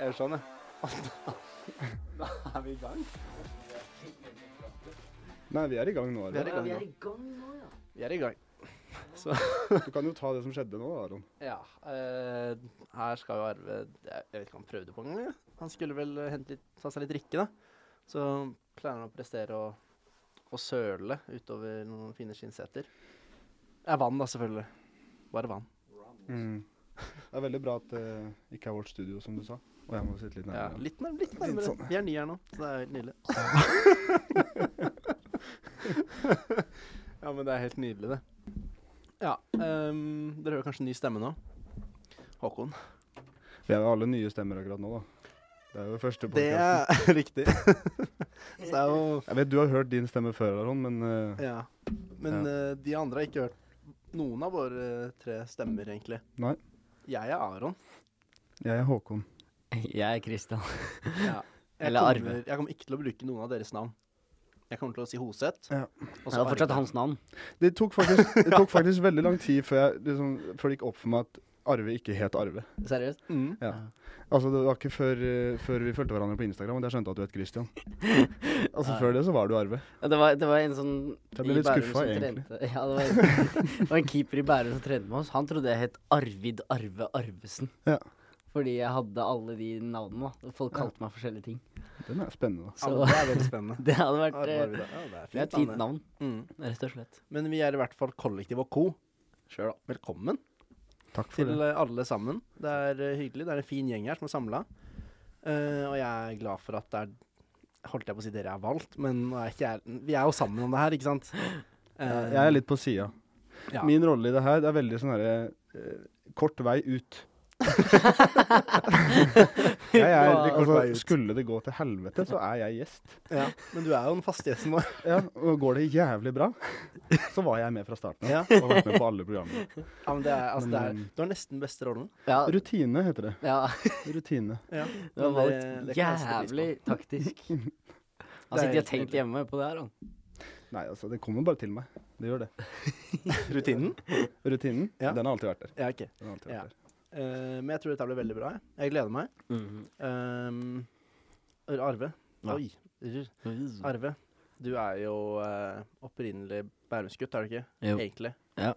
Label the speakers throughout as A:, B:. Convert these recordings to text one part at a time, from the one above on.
A: Jeg skjønner. Da er vi i gang.
B: Nei, vi er i gang nå,
A: Vi er
B: Aron.
A: i gang
C: vi
A: nå.
C: er i gang nå, ja.
A: Vi er i gang.
B: Du kan jo ta det som skjedde nå, Aron.
A: Ja. eh, her skal jo Arve Jeg jeg vet ikke om han prøvde på engang. jeg. Han skulle vel eh, hente litt, ta seg litt drikke, da. Så pleier han å prestere å, å søle utover noen fine skinnseter. Det er vann, da, selvfølgelig. Bare vann.
B: Det er veldig bra at det ikke er vårt studio, som du sa. Og jeg må sitte litt
A: Ja,
B: nærmere.
A: litt, nær, litt
B: Litt
A: nærmere.
B: sånn.
A: Vi er nye her nå, så det er helt nydelig. ja, men det er helt nydelig, det. Ja. ehm, dere hører kanskje ny stemme nå? Håkon.
B: Vi er jo alle nye stemmer akkurat nå, da. Det er jo første
A: Det
B: podcasten.
A: er riktig. så det er jo
B: Jeg vet du har hørt din stemme før, Aron, men eh,
A: Ja. Men eh, de andre har ikke hørt noen av våre eh, tre stemmer, egentlig.
B: Nei.
A: Jeg er Aron.
B: jeg er Håkon.
C: Jeg er Kristian.
A: Ja. Jeg
C: Eller Arve.
A: kommer- Jeg kommer ikke til å bruke noen av deres navn. Jeg kommer til å si Hoseth.
B: Ja.
A: og
C: Det
A: så
C: var fortsatt
A: Arve.
C: hans navn.
B: Det tok faktisk, det tok faktisk veldig lang tid før, jeg, liksom, før det gikk opp for meg at Arve ikke het Arve.
C: Seriøst?
A: Mm.
B: Ja. Altså, det var ikke før, eh, før vi fulgte hverandre på Instagram at jeg skjønte at du het Christian. Altså, før det så var du Arve.
C: Ja, Det var, det var en sånn
B: Jeg ble
C: i
B: litt
C: Bærum
B: skuffa,
C: som
B: egentlig.
C: trente- Ja, det var, det var en keeper i Bærum som trente med oss. Han trodde jeg het Arvid Arve Arvesen.
B: Ja.
C: Fordi jeg hadde alle de navnene. da. Folk kalte meg forskjellige ting.
B: Den er spennende, da.
A: Ja,
C: Så-
A: men det er veldig spennende.
C: Det hadde vært
A: Arve,
C: eh,
A: Arve, ja, det er
C: Det er
A: fint
C: et fint
A: navn, det.
C: navn,
A: Mm.
C: rett og slett.
A: Men vi er i hvert fall kollektiv og co. Sjøl, da. Velkommen
B: Takk
A: til
B: for det.
A: eh, alle sammen. Det er eh, hyggelig. Det er en fin gjeng her som er samla. og jeg er glad for at det er Holdt jeg på å si dere er valgt, men nå er ikke jeg, vi er jo sammen om det her, ikke sant? Eh,
B: Jeg er litt på sida.
A: ja.
B: Min rolle i det her det er veldig sånn herre eh, Kort vei ut. Jeg er,
A: Veldig kort
B: altså,
A: vei ut.
B: skulle det gå til helvete, så er jeg gjest.
A: ja. Men du er jo den faste gjesten vår.
B: Ja, og går det jævlig bra, så var jeg med fra starten av.
A: Ja.
B: Og har vært med på alle programmene.
A: Ja, men det er, altså, det
B: Men,
A: er, du har nesten beste rollen.
C: Ja,
B: Rutine heter det.
C: ja.
B: Rutine.
A: Ja.
C: Det var
A: Men det-
C: valgt
A: det kan jeg sette pris på.
C: jævlig taktisk. Han
A: Det er
C: sitter og
A: helt
C: tenkt hjemme på det her, han.
B: Nei, altså, det kommer bare til meg. Det gjør det.
A: Rutinen?
B: Rutinen,
A: Ja.
B: den har alltid vært der.
A: Ja, ok.
B: Den har alltid vært
A: Ja.
B: der.
A: Eh, men jeg tror dette blir veldig bra. jeg. Jeg gleder meg. Um, Arve.
C: Ja.
A: Oi. Rr.
C: Mhm. Mm.
A: Arve, du er jo eh, opprinnelig bærumsgutt, er du ikke?
C: Jo.
A: Egentlig.
C: Ja.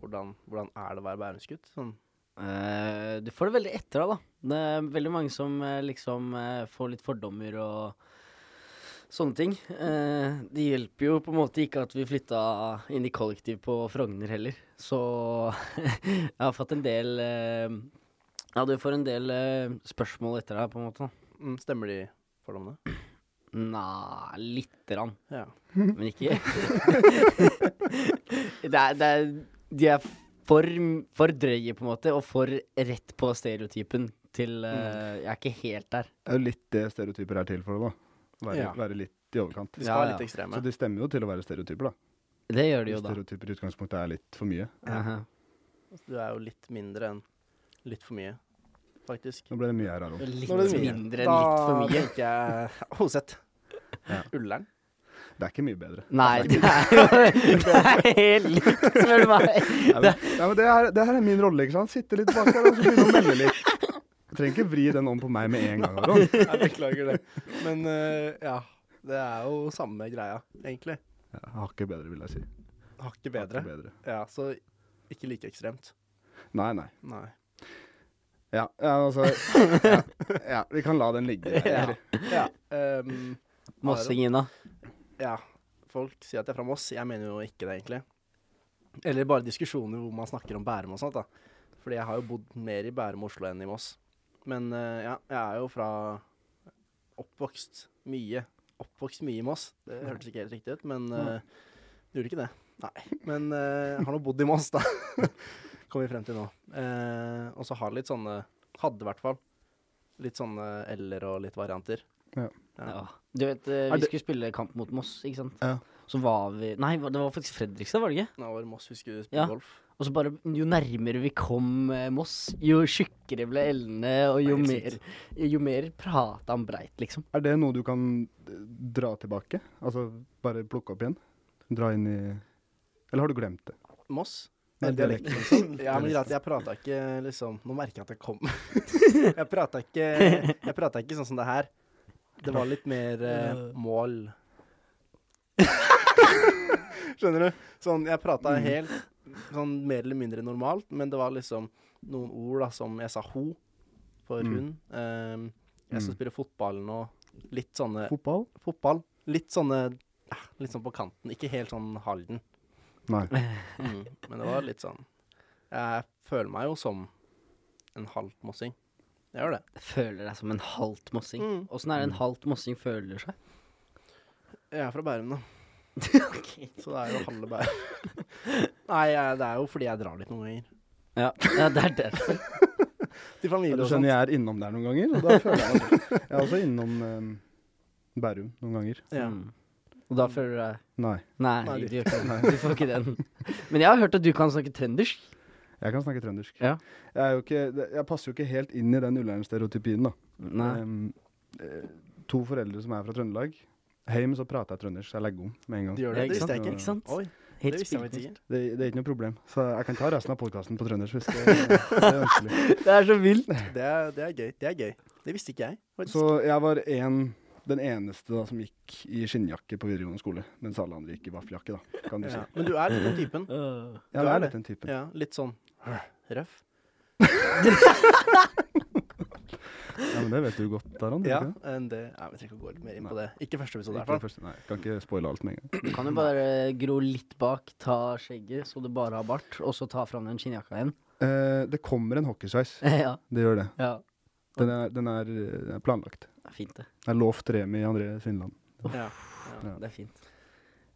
A: Hvordan, hvordan er det å være bærumsgutt? Sånn.
C: Eh, du får det veldig etter deg, da. Det er veldig mange som eh, liksom eh, får litt fordommer og sånne ting. Eh, det hjelper jo på en måte ikke at vi flytta inn i kollektiv på Frogner heller. Så jeg har fått en del eh, Ja, du får en del eh, spørsmål etter deg, på en måte. da.
A: Mm, stemmer de fordommene?
C: Nei, lite grann.
A: Ja.
C: Men ikke det er, det er, De er for, for drøye, på en måte, og for rett på stereotypen til
B: Mm.
C: eh, Jeg er ikke helt der.
B: Det er jo litt det stereotyper er til for, da. Være,
A: Ja.
B: være litt i overkant.
A: De skal
C: Ja,
A: være
C: ja.
A: litt
B: Så
A: ekstreme.
B: de stemmer jo til å være stereotyper, da.
C: Det gjør de jo,
B: Hvis
C: da.
B: stereotyper i utgangspunktet er litt for mye.
C: Aha.
A: Du er jo litt mindre enn litt for mye, faktisk.
B: Nå ble det mye her, Aron.
C: Litt
A: Nå er det mye.
C: mindre enn litt for
A: Da
C: mye.
A: tenker jeg Hoseth.
B: Ja.
A: Ullern.
B: Det er ikke mye bedre.
C: Nei, det er, det er helt likt, spør du meg.
B: Nei, men, nei, men det, her, det her er min rolle, ikke sant? Sitte litt bak her og så begynne å melde litt. Jeg trenger ikke vri den om på meg med en gang. Aron.
A: Jeg beklager det. Men eh, ja. Det er jo samme greia, egentlig.
B: Jeg har ikke bedre, vil jeg si.
A: Hakket
B: Jeg har
A: bedre.
B: ikke bedre.
A: Ja, så ikke like ekstremt.
B: Nei, nei.
A: Nei.
B: Ja, ja altså ja, ja, vi kan la den ligge. der,
A: Ja.
B: egentlig.
A: ja. ehm,
C: Mossing-Ina.
A: Ja, folk sier at jeg er fra Moss. Jeg mener jo ikke det, egentlig. Eller bare diskusjoner hvor man snakker om Bærum og sånt, da. Fordi jeg har jo bodd mer i Bærum og Oslo enn i Moss. Men eh, ja, jeg er jo fra oppvokst mye. Oppvokst mye i Moss. Det hørtes ikke helt riktig ut, men eh, det gjorde ikke det. Nei. Men eh, har nå bodd i Moss, da. Kommer vi frem til nå. Eh, og så har litt sånne Hadde i hvert fall. Litt sånne eller og litt varianter.
C: Ja. Du vet, eh,
B: Er
C: vi
B: det-
C: skulle spille kamp mot Moss, ikke sant.
B: Ja.
C: Så var vi Nei, det var faktisk Fredrikstad, var det ikke?
A: Nå var det Moss vi skulle spille
C: Ja.
A: golf.
C: Og så bare, jo nærmere vi kom eh, Moss, jo tjukkere ble Elne, og jo
A: Det er helt
C: mer, jo mer prata han breit, liksom.
B: Er det noe du kan eh, dra tilbake? Altså bare plukke opp igjen? Dra inn i Eller har du glemt det?
A: Moss?
B: Med dialekten.
A: Ja, men greit, jeg prata ikke liksom Nå merker jeg at jeg kom. jeg prata ikke Jeg pratet ikke sånn som det her. Det var litt mer eh, mål. Skjønner du? Sånn, jeg prata
B: Mm.
A: helt sånn mer eller mindre normalt, men det var liksom noen ord da som jeg sa ho for
B: Mm.
A: hun. Ehm, jeg skal
B: Mm.
A: spille fotball nå. Litt sånne
B: Fotball?
A: Fotball. Litt sånne eh, Litt sånn på kanten. Ikke helt sånn Halden.
B: Nei.
A: Mm, men det var litt sånn Jeg føler meg jo som en halvt mossing. Jeg gjør det.
C: Jeg føler deg som en halvt mossing.
A: Mm.
C: Åssen er det en halvt mossing føler seg?
A: Jeg er fra Bærum, da. Så det er jo halve Bærum. Nei, jeg, det er jo fordi jeg drar litt noen ganger.
C: Ja, ja det er derfor.
A: Til
B: Ja,
A: familie
B: Du
A: og
B: skjønner
A: sånt.
B: jeg er innom der noen ganger, og da føler jeg meg sånn. Jeg er også innom eh, Bærum noen ganger.
A: Ja.
C: Mm. Og da føler du deg
B: Nei.
C: Nei,
A: Nei,
C: du, gjør ikke det. du får ikke den. Men jeg har hørt at du kan snakke trøndersk.
B: Jeg kan snakke trøndersk.
C: Ja.
B: Jeg, er jo ikke, det- jeg passer jo ikke helt inn i den ullern-stereotypien, da.
C: Nei.
B: Em, eh, to foreldre som er fra Trøndelag. Heim så prater jeg trøndersk, så jeg legger om med en gang.
A: De gjør det,
C: Ja,
A: det
C: ikke
A: visste
B: sant?
A: jeg ikke.
B: Ikke
C: sant?
A: Oi, det
C: Helt
A: visste jeg faktisk
C: spilt.
A: ikke.
B: Det, det er ikke noe problem. Så jeg kan ta resten av podkasten på trøndersk hvis det, det er ønskelig.
C: Det er så vilt.
A: Det er, det er gøy. Det er gøy. Det visste ikke jeg. faktisk.
B: Så jeg var en, den eneste da, som gikk i skinnjakke på videregående skole, mens alle andre gikk i vaffeljakke, da, kan du si.
A: ja. Men du er litt den typen.
C: Øh.
B: Ja,
A: Du
B: det
A: er
B: er
A: det.
B: litt den typen.
A: Ja, litt sånn røff.
B: Ja, men det vet du godt, Aron.
A: Ja,
B: gjør du ikke det?
A: enn det Nei, vi trenger ikke å gå litt mer inn på det. Ikke første episode, i hvert
B: Ikke det
A: fall.
B: første. Nei, kan ikke spoile alt med en gang.
C: Du kan jo bare gro litt bak, ta skjegget så du bare har bart, og så ta fram den skinnjakka igjen.
B: Eh, det kommer en hockeysveis.
C: ja,
B: Det gjør det.
C: ja.
B: Den er, den er eh, planlagt.
C: Det er fint, det.
B: Det er lovt Remi André Svinland.
A: Ja.
B: Ja.
C: Det er fint.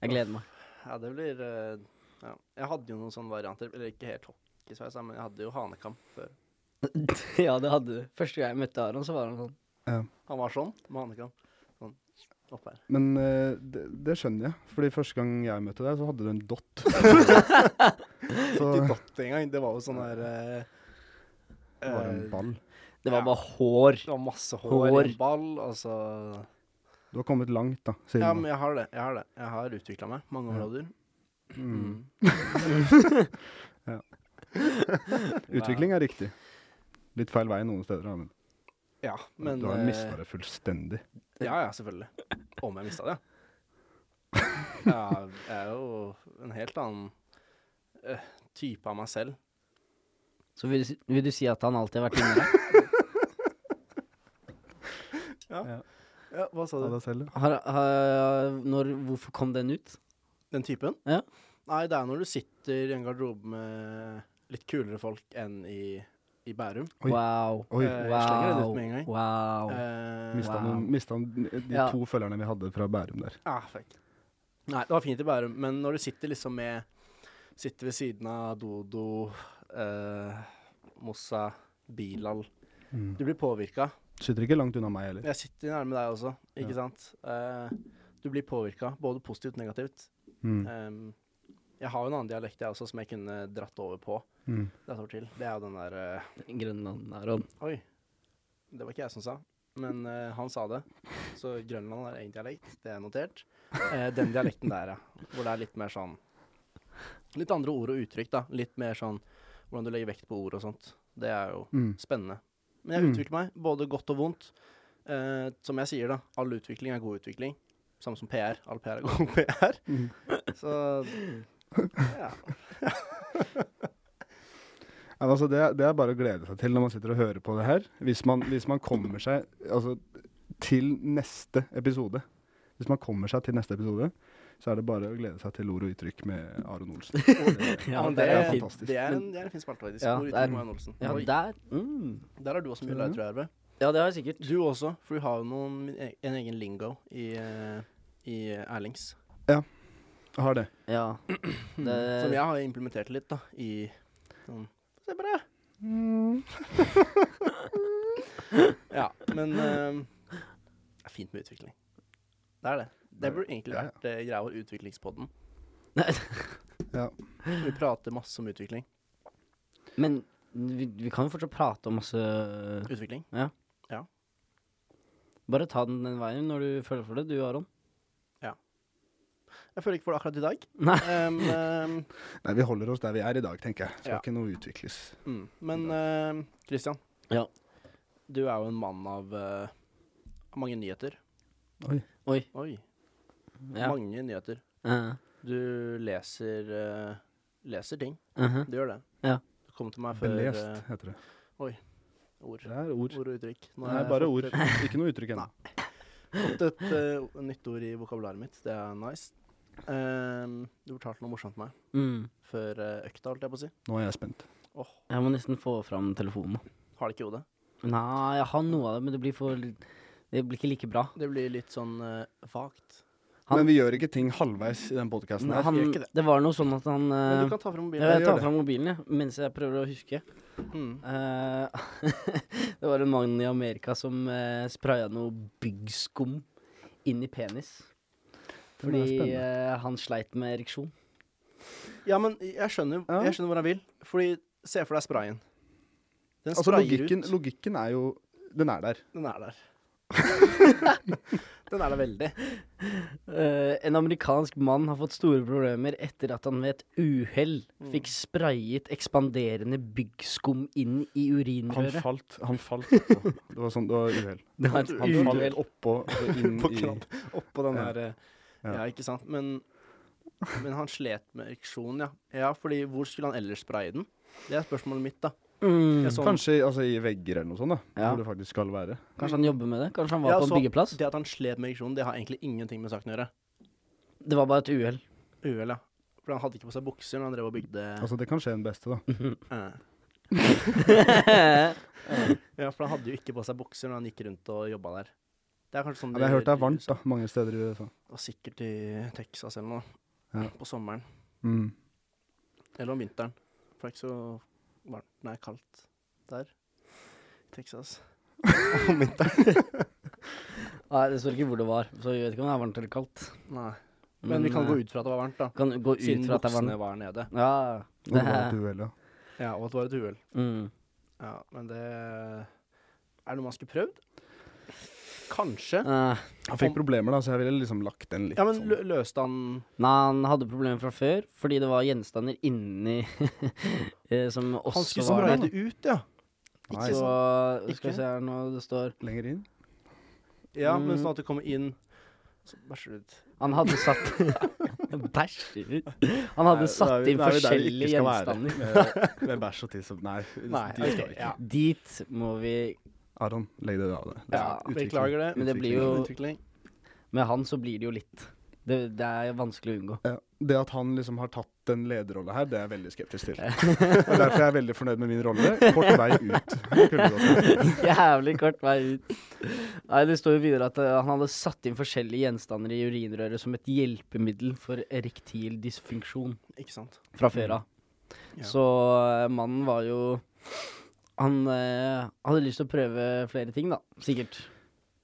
C: Jeg gleder meg.
A: Ja, det blir eh, ja. Jeg hadde jo noen sånne varianter, eller ikke helt hockeysveis, da, men jeg hadde jo hanekam før.
C: ja, det hadde du. Første gang jeg møtte Aron, så var han sånn.
A: Han var sånn med hanekam. Sånn opp her.
B: Men eh, det, det skjønner jeg, Fordi første gang jeg møtte deg, så hadde du en dott. så
A: Ikke dott engang. Det var jo sånn der eh,
B: det var en
A: eh,
B: ball.
C: Det var
A: Ja.
C: bare hår.
A: Det var masse hår,
C: Hår.
A: i en ball, og så
B: Du har kommet langt, da, siden
A: Ja,
B: da.
A: men jeg har det. Jeg har det. Jeg har utvikla meg mange
B: Ja.
A: områder.
B: Mm. Ja.
A: Utvikling?
B: Utvikling er riktig. Litt feil vei noen steder, da, men,
A: Ja, men
B: du har
A: eh,
B: mista det fullstendig.
A: Ja, ja, selvfølgelig. Om jeg mista det. Ja, jeg er jo en helt annen eh, type av meg selv.
C: Så vil, du si- vil du si at han alltid har vært inni deg?
A: Ja, Hva sa
B: Av deg selv, ja.
C: Har, har, når, hvorfor kom den ut?
A: Den typen?
C: Ja.
A: Nei, det er når du sitter i en garderobe med litt kulere folk enn i, i Bærum.
B: Oi.
C: Wow.
B: Oi,
A: Eh, jeg slenger den ut med en gang.
C: Wow.
A: Eh,
B: mista,
C: wow.
B: noen, mista de
C: Ja.
B: to følgerne vi hadde fra Bærum der.
A: ah, fuck. Nei, det var fint i Bærum, men når du sitter liksom med Sitter ved siden av Dodo, eh, Mossa, Bilal Du blir påvirka.
B: Sitter ikke langt unna meg heller.
A: Jeg sitter nærme deg også, ikke
B: Ja.
A: sant? Eh, du blir påvirka, både positivt og negativt.
B: Mm.
A: Em, jeg har jo en annen dialekt jeg også, som jeg kunne dratt over på.
B: Mm.
A: Dratt over til. Det er jo den der eh,
C: Grønland, Aron.
A: Oi. Det var ikke jeg som sa, men eh, han sa det. Så Grønland har egen dialekt, det er notert. Eh, den dialekten der, ja. Hvor det er litt mer sånn Litt andre ord og uttrykk, da. Litt mer sånn hvordan du legger vekt på ord og sånt. Det er jo
B: Mm.
A: spennende. Men jeg
B: Mm.
A: utvikler meg, både godt og vondt. Eh, som jeg sier, da. All utvikling er god utvikling. Samme som PR. All PR er god PR.
B: Mm.
A: Så ja.
B: Ja, men Altså det, er- det er bare å glede seg til når man sitter og hører på det her. Hvis man, hvis man kommer seg altså, til neste episode. Hvis man kommer seg til neste episode, så er det bare å glede seg til ord og uttrykk med Aron Olsen.
A: ja men det,
B: er
A: er,
B: fantastisk.
A: det, er en, det er en fin spalte, faktisk.
C: Ja,
A: Hvor
C: det
A: utvikler
C: er-
A: Marianne Olsen?
C: Ja,
A: Oi,
C: der. Mm.
A: der har du også mye
B: Ser du
A: lært, tror jeg, Arve.
C: Ja, det har jeg sikkert.
A: Du også, for du har jo noen, e-, en egen lingo i, eh, i Erlings.
B: Jeg Har det.
C: Ja. Det,
A: Som jeg har implementert litt, da, i sånn Se på det! ja, men eh, Det er fint med utvikling. Det er det. Det burde egentlig
B: Ja, ja.
A: vært eh, greia vår utviklingspodden.
B: Ja.
A: Vi prater masse om utvikling.
C: Men vi, vi kan jo fortsatt prate om masse
A: Utvikling.
C: Bare ta den den veien når du føler for det, du Aron.
A: Jeg føler ikke for det akkurat i dag.
C: Nei.
A: Ehm, ehm,
B: Nei, vi holder oss der vi er i dag, tenker jeg. Skal
A: Ja.
B: ikke noe utvikles.
A: mm. Men ehm, Christian,
C: Ja.
A: du er jo en mann av eh, mange nyheter.
C: Oi.
A: Oi,
C: Ja.
A: mange nyheter.
C: Eh,
A: Du leser, eh, leser ting.
C: mhm.
A: Du gjør det.
C: Ja.
A: Du kom til meg før
B: Belest,
A: eh,
B: heter det.
A: ord.
B: Det er ord.
A: ord og uttrykk. Nå har
B: Nei,
A: jeg
B: bare
A: fått
B: ord.
A: et-
B: Ikke noe uttrykk ennå.
A: fått et eh, nytt ord i vokabularet mitt. Det er nice. Ehm, du fortalte noe morsomt til meg
C: Mm.
A: før eh, økta, holdt jeg på å si.
B: Nå er jeg spent.
C: Jeg må nesten få fram telefonen.
A: Har det ikke i hodet.
C: Nei, jeg har noe av det, men det blir for Det blir ikke like bra.
A: Det blir litt sånn eh, vagt.
C: Han-
B: Men vi gjør ikke ting halvveis i den podkasten her.
C: Han,
A: gjør ikke
C: det. var noe sånn at han
B: Ehm,
A: Men du
C: eh,
A: kan ta frem
C: ja,
A: mobilen.
C: Jeg
B: gjør
C: tar
B: det.
C: fram mobilen, jeg, mens jeg prøver å huske.
A: Mm.
C: Eh, det var en mann i Amerika som uh, spraya noe byggskum inn i penis.
B: Det blir
C: Fordi
B: spennende.
C: eh, han sleit med ereksjon.
A: Ja, men jeg skjønner,
B: Ja.
A: jeg skjønner hvor han vil. Fordi, se for deg sprayen. Den
B: Altså,
A: sprayer
B: logikken,
A: ut.
B: logikken er jo Den er der.
A: Den er der. den er der veldig.
C: Eh, en amerikansk mann har fått store problemer etter at han ved et uhell
A: Mm.
C: fikk sprayet ekspanderende byggskum inn i
B: Han
C: urinrøret.
B: falt. Han falt. oppå. Det var sånn, det var uhell.
C: Det var et
B: Han
C: uhell.
B: falt oppå og inn
A: På
B: i
A: knapp. Oppå den
B: Ja.
A: der eh,
B: Ja.
A: Ja, ikke sant. Men, men han slet med ereksjon, ja. Ja, fordi hvor skulle han ellers spraye den? Det er spørsmålet mitt, da.
C: Mm.
A: Jeg så han-
B: Kanskje altså, i vegger eller noe sånt, da.
C: Ja.
B: Hvor det faktisk skal være.
C: Kanskje han jobber med det? Kanskje han var
A: Ja,
C: på en
A: så-
C: byggeplass?
A: Det at han slet med ereksjon, det har egentlig ingenting med saken å gjøre.
C: Det var bare et uhell.
A: Uhell, ja. For han hadde ikke på seg bukser når han drev og bygde
B: Altså, det kan skje den beste, da.
A: eh. Ja, for han hadde jo ikke på seg bukser når han gikk rundt og jobba der. Det er kanskje sånn
B: Ja, men jeg har hørt det er
A: gjør i
B: varmt
A: USA.
B: da, mange steder i USA.
A: Og sikkert i Texas eller noe.
B: Ja.
A: På sommeren.
B: Mm.
A: Eller om vinteren. For det er ikke så varmt Nei, kaldt der. Texas. om vinteren.
C: Nei, det står ikke hvor det var, så jeg vet ikke om det er varmt eller kaldt.
A: Nei. Men, vi kan
C: eh,
A: gå ut fra at det var varmt, da.
C: Kan gå ut
A: Siden
C: fra at det er
A: buksene
C: varmt.
A: var nede.
C: Ja,
B: Og det var
C: det-
B: et uhell, ja.
A: Ja, og at det var et uhell.
C: mm.
A: Ja, men det Er det noe man skulle prøvd? Kanskje.
C: Eh,
B: Han fikk problemer, da, så jeg ville liksom lagt den litt
A: Ja, men
B: sånn.
A: lø løste han
C: Nei, han hadde problemer fra før, fordi det var gjenstander inni eh, som
A: Han
C: også
A: skulle
C: var
A: spraye
C: der.
A: det ut, ja.
B: Nei,
C: Så
B: sånn.
C: skal vi
A: Ikke?
C: se her nå, det står
B: Lenger inn?
A: Ja, men
C: Mm.
A: sånn at det kommer inn Så bæsjer det ut.
C: Han hadde satt Bæsjer ut. Han hadde satt inn forskjellige gjenstander.
B: Med, med bæsj og tiss og Nei,
A: Nei,
B: de
A: ok,
B: skal ikke.
A: ja.
C: Dit må vi
B: Aron, legg det av deg. Det er
C: Ja,
B: utvikling.
A: Beklager det.
C: Men det blir jo
A: Utvikling.
C: Med han så blir det jo litt. Det, det er vanskelig å unngå.
B: Ja, Det at han liksom har tatt den lederrolla her, det er jeg veldig skeptisk til. Og Derfor er jeg veldig fornøyd med min rolle. Kort vei ut. Kuldegåten.
C: Jævlig kort vei ut. Nei, Det står jo videre at eh, han hadde satt inn forskjellige gjenstander i urinrøret som et hjelpemiddel for erektil dysfunksjon
A: Ikke sant.
C: fra før av.
A: Ja.
C: Så eh, mannen var jo Han eh, hadde lyst til å prøve flere ting, da. Sikkert.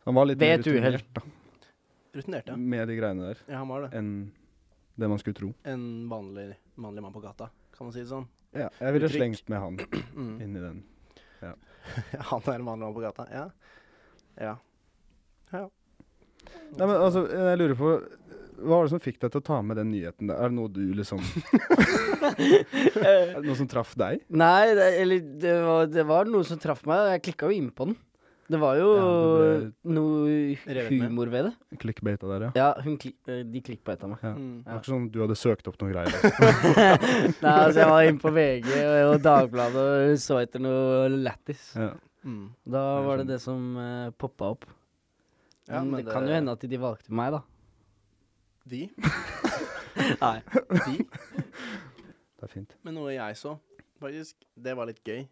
B: Han var litt
C: Ved
B: mer
C: et uhell.
B: rutinert, da,
A: Rutinert, ja.
B: med de greiene der
A: Ja, han var det.
B: enn det man skulle tro.
A: En vanlig, vanlig mann på gata, kan man si det sånn.
B: Ja, jeg ville
A: Uttrykk.
B: slengt med han
A: Mm.
B: inn i den.
A: Han er en vanlig mann på gata. Ja. Ja.
B: Nei, men altså, jeg lurer på Hva var det som fikk deg til å ta med den nyheten der? Er det noe du liksom
A: Eh.
B: Er det noe som traff deg?
C: Nei, det, eller det var, det var noe som traff meg. og Jeg klikka jo inn på den. Det var jo
B: Ja, det
C: noe
A: Revet med.
C: humor ved det.
B: Clickbata der, ja.
C: Ja, hun kli, eh, de klippet etter meg.
A: Mm.
B: Det var ikke sånn du hadde søkt opp noen greier?
C: Nei, altså jeg var inne på VG og, og Dagbladet og så etter noe lættis.
B: Ja.
A: Mm.
C: Da
B: Det er
C: var det
B: sånn.
C: det som uh, poppa opp.
A: Ja,
C: men
A: men
C: det, kan jo hende at de valgte meg, da.
A: De.
C: Nei.
A: De.
B: Det er fint.
A: Men noe jeg så, faktisk, det var litt gøy.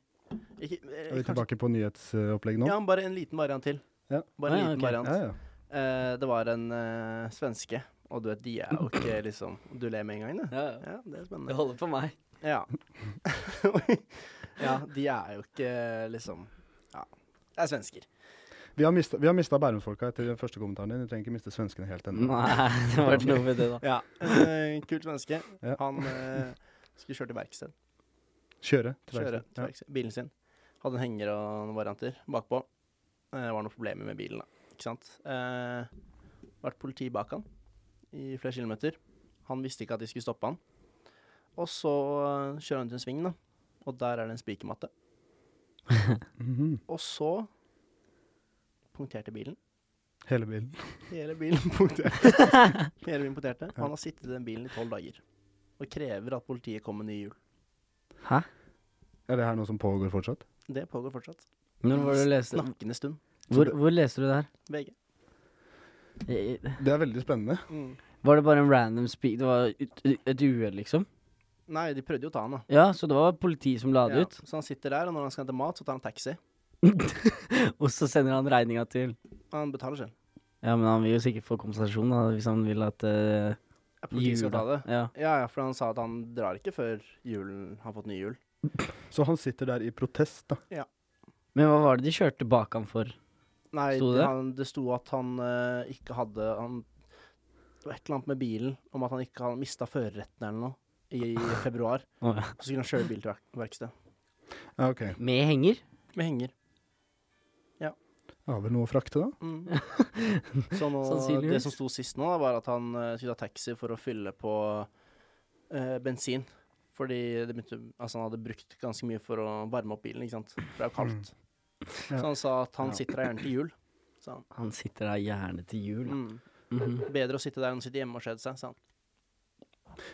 A: Ikke, eh,
B: Er vi
A: kanskje,
B: tilbake på nyhetsopplegg nå?
A: ja, men bare en liten variant til.
B: Ja.
A: Bare en
C: Ah, ja,
A: liten
C: ok.
A: variant.
B: ja, ja.
A: Eh, det var en eh, svenske, og du vet, de er jo ikke liksom Du ler med en gang, du. Ja, det er spennende.
C: Det holder for meg.
A: Ja. Oi. ja, de er jo ikke liksom Ja, det er svensker.
B: Vi har mista- vi har mista Bærumsfolka etter den første kommentaren din. Du trenger ikke miste svenskene helt ennå.
C: Nei, det var ikke noe med det, da.
A: Ja, En uh, kult menneske.
B: Ja.
A: Han eh, skulle kjøre til verksted.
B: Kjøre. til
A: Kjøre
B: verkstedet.
A: til verksted. Bilen sin. Hadde en henger og noen varianter bakpå. Eh, Det var noen problemer Eh, med bilen, da. Ikke sant. Uh, vært politi bak han i flere kilometer. Han visste ikke at de skulle stoppe han. Og så eh, kjører han ut en sving, da. Og der er det en spikermatte.
B: Mhm.
A: Og så punkterte bilen.
B: Hele bilen.
A: Hele bilen punkterte. Hele bilen punkterte. Og han har sittet i den bilen i tolv dager. Og krever at politiet kommer med nye hjul.
C: Hæ?
B: Er det her noe som pågår fortsatt?
A: Det pågår fortsatt.
C: Når var det du leste
A: Snakkende stund.
C: Hvor, hvor leste du det her?
A: VG.
C: I- i-
B: Det er veldig spennende.
A: Mm.
C: Var det bare en random speak? Det var ut- et uhell, liksom?
A: Nei, de prøvde jo å ta han, da.
C: Ja, så det var politi som la det
A: Ja,
C: ut?
A: Så han sitter der, og når han skal hente mat, så tar han taxi.
C: Og så sender han regninga til
A: Han betaler selv.
C: Ja, men han vil jo sikkert få kompensasjon, da, hvis han vil at eh,
A: Ja, Politiet skal
C: jula-
A: ta det.
C: Ja.
A: Ja, ja, for han sa at han drar ikke før julen har fått nye hjul.
B: Så han sitter der i protest, da.
C: Men hva var det de kjørte bak ham for?
A: Nei,
C: Sto
A: det?
C: det?
A: Han, det sto at han eh, ikke hadde han, Det var et eller annet med bilen om at han ikke hadde mista førerretten eller noe i, i februar.
C: Å, ja.
A: Så skulle han kjøre bil til verk- verksted.
B: Ja, Ah, ok.
C: Med henger?
A: Med henger.
B: Har vel noe å frakte, da?
A: Mm. Så nå,
C: Sannsynligvis.
A: det som sto sist nå, da, var at han eh, skulle ta taxi for å fylle på eh, bensin. Fordi det begynte, altså han hadde brukt ganske mye for å varme opp bilen, ikke sant. For det er jo kaldt.
B: Mm. Ja.
A: Så han sa at han
B: Ja.
A: sitter der gjerne til jul. Sa han.
C: Han sitter der gjerne til jul. da.
A: Mm.
C: Mhm.
A: Bedre å sitte der enn å sitte hjemme og kjede seg, sa han.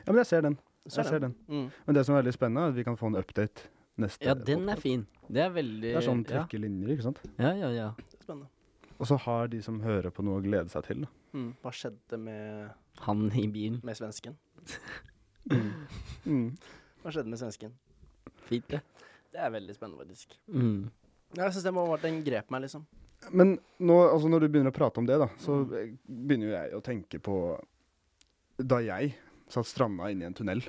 B: Ja, men jeg ser den.
A: Så
B: Jeg ser den.
A: Mm.
B: Men det som er veldig spennende, er at vi kan få en update neste
C: Ja, den er fin. Det er veldig
B: Det er sånn
C: ja.
B: trekke linjer, ikke sant?
C: ja, ja, ja.
A: Spennende.
B: Og så har de som hører på noe å glede seg til. Da.
A: Mm. Hva skjedde med,
C: Han i bilen.
A: med svensken?
B: Mm.
A: Hva skjedde med svensken?
C: Fint, det.
A: Det er veldig spennende, faktisk.
C: Mm.
A: Ja, Jeg syns den, var- den grep meg, liksom.
B: Men nå, altså når du begynner å prate om det, da, så eh, begynner jo jeg å tenke på da jeg satt stranda inne i en tunnel.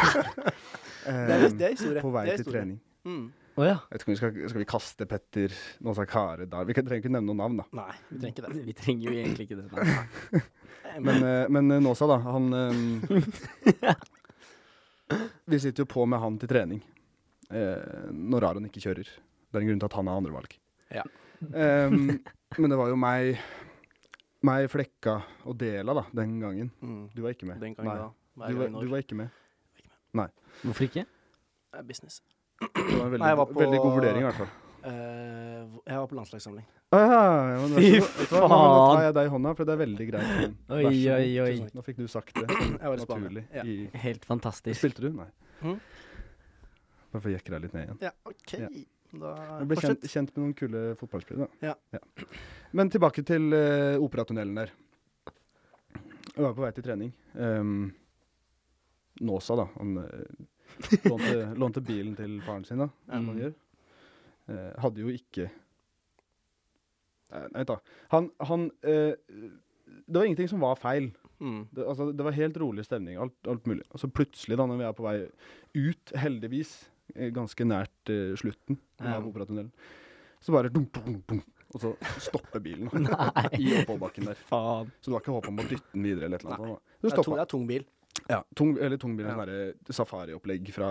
A: Det er,
B: Em,
A: det er historie.
B: Eh, på vei
A: det er
B: til
A: historie.
B: trening.
A: Mm.
C: Å ja.
B: Jeg vet ikke om vi skal, skal vi kaste Petter Nåsa Kare der? Vi kan- trenger ikke nevne noen navn, da.
A: Nei, vi trenger ikke det.
C: Vi trenger jo egentlig ikke det. Nei.
B: Men, eh, men eh, Nåsa, da, han em, Vi sitter jo på med han til trening eh, når Aron ikke kjører. Det er en grunn til at han har andrevalg.
A: Ja.
B: Em, men det var jo meg, meg, Flekka og Dela da, den gangen.
A: Mm.
B: Du var ikke med?
A: Den gangen da. Hver
B: Du
A: gang
B: var,
A: når.
B: du var ikke med.
C: Hvorfor ikke?
A: Det er Business.
B: Det var en veldig,
A: Nei, jeg var
B: go-
A: på-
B: veldig god vurdering, i hvert fall.
A: Eh, hvor- jeg var på landslagssamling.
B: Ah, ja, ja, men
C: Fy
B: vær så god. Vet du hva, nå- Nå tar
C: faen.
B: jeg deg i hånda, for det er veldig greit. Vær så
C: Oi,
B: god.
C: oi, oi.
B: Tusen takk. Nå fikk du sagt det
A: Jeg var i Spania.
B: naturlig.
A: Ja.
B: I,
C: Helt fantastisk.
B: spilte du? Nei.
A: Mhm.
B: Bare for å jekke deg litt ned igjen.
A: ja, OK. Da
B: Jeg ble kjent,
A: fortsett.
B: kjent med noen kule fotballspillere. da.
A: Ja.
B: Men tilbake til eh, operatunnelen der. Jeg var på vei til trening. Um, Nåsa, da. Han eh, lånte, lånte bilen til faren sin, da. som han
C: Mm.
B: gjør. Eh, hadde jo ikke Nei, nei, da. Han, han eh, Det var ingenting som var feil.
A: Mm.
B: Det, altså, det var helt rolig stemning. Alt, alt mulig. Og så plutselig, da, når vi er på vei ut, heldigvis, eh, ganske nært eh, slutten
C: Ja.
B: av Operatunnelen, så bare dunk, dunk, dunk, Og så stopper bilen i oppoverbakken der.
C: Faen.
B: Så det var ikke håp om å dytte den videre eller et eller annet. sånt, da.
A: Det
B: Så
A: er tung,
B: stoppa
A: det er tung bil.
B: ja, tung, eller tungbil er
A: Ja.
B: sånn derre safariopplegg fra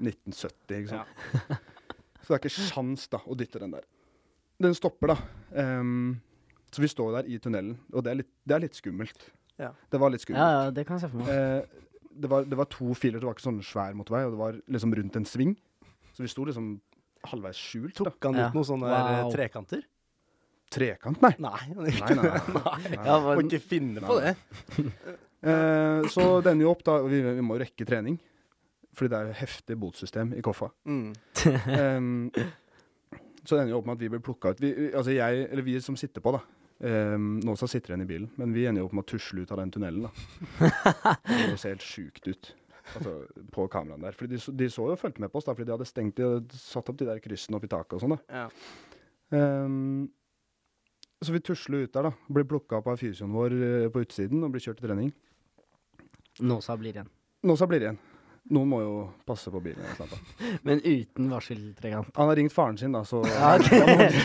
B: 1970, ikke sant. så det er ikke sjans da, å dytte den der. Den stopper, da. Ehm, så vi står der i tunnelen, og det er litt, det er litt skummelt.
A: Ja.
B: Det var litt
C: Ja,
B: skummelt.
C: ja, det kan jeg se for meg.
B: Eh, det, var, det var to filer, det var ikke sånn svær motorvei, og det var liksom rundt en sving. Så vi sto liksom halvveis skjult, da.
A: Tok han
C: Ja.
A: ut noen sånne der, eh,
C: Wow.
A: trekanter?
B: Trekant, nei.
A: Nei, han gjorde
B: Nei,
A: ikke
B: nei,
A: det.
B: nei.
C: Ja,
A: Må
C: men,
A: ikke finne på det.
B: Eh, så det ender jo opp, da. og Vi, vi må jo rekke trening. Fordi det er jo heftig botsystem i Koffa.
A: Mm.
B: Ehm, så det ender jo opp med at vi blir plukka ut. Vi, vi- altså jeg, eller vi som sitter på, da. Um, nå så sitter igjen i bilen, men vi ender jo opp med å tusle ut av den tunnelen. da. Det høres helt sjukt ut altså, på kameraene der. Fordi de, så- de så jo og fulgte med på oss, da, fordi de hadde stengt, de hadde satt opp de der kryssene opp i taket og sånn. da.
A: Ja.
B: Ehm, så vi tusler ut der, da. Blir plukka opp av fysioen vår eh, på utsiden og blir kjørt til trening.
C: Nåsa blir igjen.
B: Nå så blir det igjen. Noen må jo passe på bilen. eller et eller annet, da.
C: Men uten varseltrekant.
B: Han har ringt faren sin, da, så
C: Ja, ok.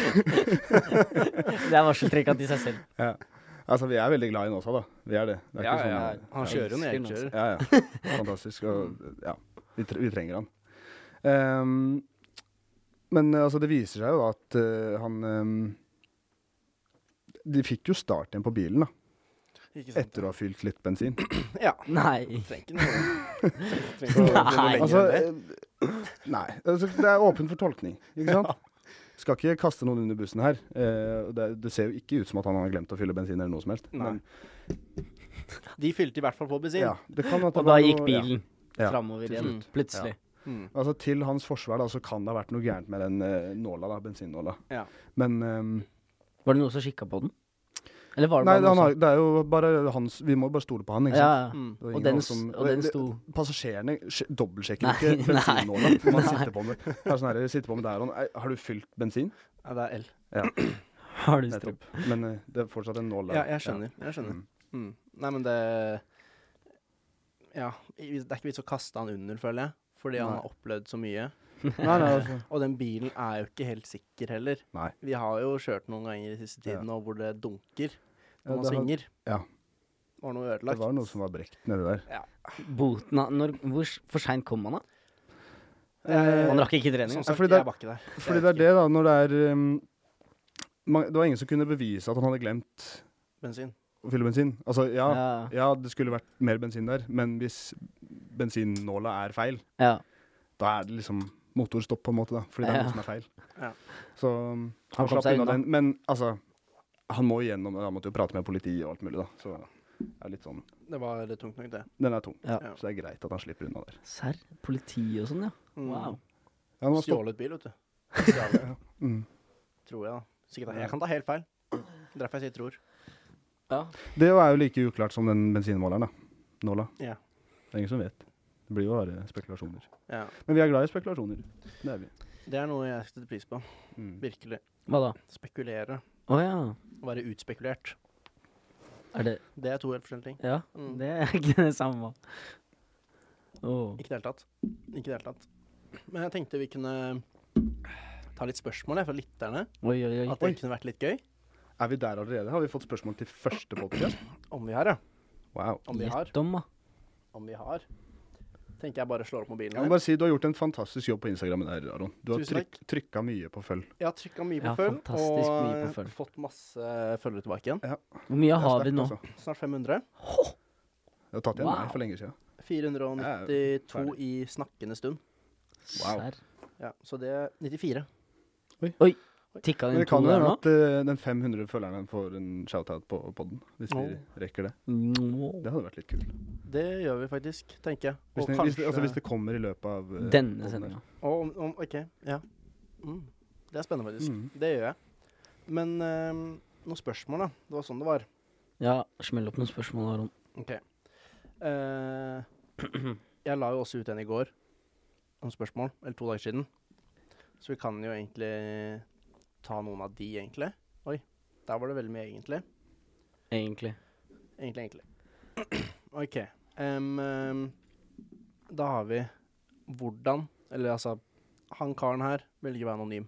C: Det er varseltrekant i seg selv.
B: Ja. Altså, vi er veldig glad i Nåsa, da. Vi er det. det er
A: Ja,
B: ikke
A: ja,
B: sånn-
A: ja. Han kjører jo når jeg ikke
C: Elsker
A: kjører.
B: Ja, ja. Fantastisk. Og, ja. Vi, tre vi trenger han. Ehm, men eh, altså, det viser seg jo da at eh, han ehm, De fikk jo start igjen på bilen, da.
A: Ikke sant?
B: Etter å ha fylt litt bensin.
A: Ja.
C: Nei.
A: Trenger ikke noe, trenger ikke noe
C: Nei.
A: lenger
B: Altså,
A: enn det.
B: eh, nei. Altså, det er åpent for tolkning, ikke sant? Skal ikke kaste noen under bussen her. Eh, og det, det ser jo ikke ut som at han har glemt å fylle bensin eller noe som helst.
A: Nei.
B: Men,
A: De fylte i hvert fall på bensin.
B: ja, det kan at det
C: Og da
B: var
C: gikk
B: noe- ja.
C: bilen
B: Ja.
C: framover
A: til
C: igjen,
A: slutt.
C: plutselig.
A: Mm.
B: Altså Til hans forsvar da, så kan det ha vært noe gærent med den eh, nåla, da, bensinnåla.
A: Ja.
B: Men ehm,
C: Var det noen som kikka på den? Eller var det
B: Nei,
C: bare
B: han
C: noen
B: har, det er jo bare hans Vi må bare stole på han,
C: som
B: ikke
C: ja,
B: sant?
C: ja.
A: Mm.
B: Det var
C: Og
B: ingen
C: den,
B: av oss
C: s-
B: som-
C: og den sto
B: Passasjerene sj- dobbeltsjekker
C: Nei,
B: ikke
C: nei.
B: bensinnåla når man
C: Nei.
B: sitter på med. Det er sånn her, sitter på med der og «Ei, Har du fylt bensin?
A: ja, det er L.
C: Har du
B: Nettopp. Men eh, det er fortsatt en nål der.
A: Ja, jeg skjønner. Jeg skjønner.
B: Mm.
A: Mm. Nei, men det Ja. i- Det er ikke vits å kaste han under, føler jeg. Fordi han
B: Nei.
A: har opplevd så mye.
B: Nei, nei, altså.
A: Og den bilen er jo ikke helt sikker heller.
B: Nei.
A: Vi har jo kjørt noen ganger i siste tiden nå hvor det dunker når
B: Ja,
A: man
B: det har-
A: svinger.
B: ja.
A: Det var noe
B: Det
A: ødelagt.
B: var noe som var brekt nedi der.
C: boten av når, Hvor s- for seint kom han, da?
A: Eh,
C: Han rakk ikke treninga.
A: Sånn sagt,
B: fordi det er-
A: jeg var ikke der.
B: Fordi det er det, da, når det er ehm, man, Det var ingen som kunne bevise at han hadde glemt
A: Bensin.
B: å fylle bensin. Altså, ja,
C: Ja.
B: Ja, det skulle vært mer bensin der, men hvis bensinnåla er feil,
C: ja.
B: da er det liksom motorstopp på en måte, da, fordi det er
C: Ja.
B: noe som er feil.
A: Ja.
B: Så um, han,
C: kom
B: slapp
C: seg
B: unna
C: unna.
B: den. Men altså, han må igjennom, han måtte jo prate med politiet og alt mulig, da. Så det er litt sånn
A: Det var litt tungt nok, det.
B: Den er tung,
C: Ja.
B: så det er greit at han slipper unna der.
C: Serr? Politi og sånn, ja.
A: Mm.
C: Wow.
B: Ja, han var stopp.
A: Stjålet bil, vet du. Stjålet,
B: Mm.
A: tror jeg, da. Sikkert, jeg kan ta helt feil. Derfor jeg sier tror.
C: Ja.
B: Det er jo like uklart som den bensinmåleren, da. Nåla.
A: Ja.
B: Det er ingen som vet. Det blir jo bare spekulasjoner.
A: Ja.
B: Men vi er glad i spekulasjoner. Det er vi.
A: Det er noe jeg setter pris på.
B: Mm.
A: Virkelig.
C: Hva da?
A: Spekulere.
C: Å ja.
A: Å være utspekulert.
C: Er det
A: Det er to helt forskjellige ting.
C: Ja,
A: Mm.
C: det er ikke det samme. Åh.
A: Ikke i det hele tatt. Ikke i det hele tatt. Men jeg tenkte vi kunne ta litt spørsmål jeg, fra lytterne.
C: Oi, oi, oi.
A: At det kunne vært litt gøy.
B: Er vi der allerede? Har vi fått spørsmål til første podcast?
A: Om vi har, ja.
B: Wow.
A: Om vi har.
C: Gjett om, da.
A: Om vi har. Tenker jeg bare slår opp mobilen.
B: Jeg må
A: her.
B: bare si Du har gjort en fantastisk jobb på Instagram. der, Aron. Du har
A: Tusen takk.
B: tryk, trykka mye på følg.
A: Jeg har trykka mye på
C: Ja,
A: følg,
C: fantastisk
A: og
C: mye på følg.
A: fått masse følgere tilbake igjen.
C: Hvor mye
B: Det er
C: har
B: sterkt,
C: vi nå?
B: altså.
A: Snart 500.
B: Det har tatt igjen
C: Wow.
B: meg for lenge siden.
A: 492
B: ferdig.
A: i snakkende stund.
B: Wow.
C: Serr.
A: Ja, så det er 94.
C: Tikka
B: Men
C: den
B: det
C: inn to
B: kan jo
C: der
B: hende
C: nå?
B: at eh, den 500 følgeren får en shoutout på podden, hvis vi rekker det.
C: Nå.
B: Det hadde vært litt kult.
A: Det gjør vi faktisk, tenker jeg.
B: Hvis,
A: Og
B: det- hvis, det- altså,
A: kanskje-
B: hvis det kommer i løpet av eh, podden
C: Denne
B: her.
C: sendinga.
A: Og om, om, ok, ja. Mm. Det er spennende, faktisk.
B: Mm.
A: Det gjør jeg. Men ehm, noen spørsmål, da. Det var sånn det var.
C: Ja, smell opp noen spørsmål, Aron.
A: Ok. Eh, jeg la jo også ut en i går om spørsmål, eller to dager siden. Så vi kan jo egentlig ta noen av de, egentlig. Oi, der var det veldig mye egentlig.
C: Egentlig.
A: Egentlig, egentlig. OK. em, em, da har vi hvordan Eller altså, han karen her velger å være anonym.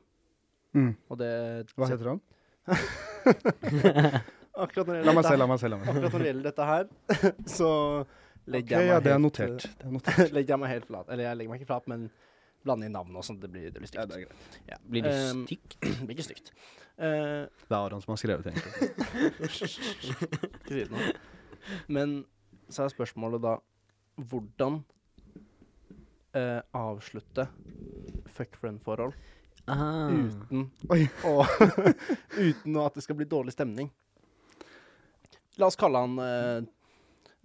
B: Mm.
A: Og det
B: Hva heter han?
A: Akkurat når det
B: La meg se,
A: gjelder,
B: la meg se. La meg se.
A: dette, akkurat når det gjelder dette her, så legger
B: Ok,
A: jeg meg
B: ja,
A: helt-
B: det er
A: eh.
B: notert. Det er notert.
A: legger jeg meg helt flat. Eller jeg legger meg ikke flat, men blander inn navnet og sånn. Det blir, det blir
B: Ja,
A: stygt.
B: det er greit.
C: Blir det
A: Um,
C: stygt?
A: det blir ikke stygt. Eh,
B: Det er Aron som har skrevet det. egentlig.
A: ikke si det nå. Men så er spørsmålet da hvordan eh, avslutte fuck friend-forhold
C: Ah.
A: uten,
B: Oi.
A: å- uten at det skal bli dårlig stemning. La oss kalle han eh,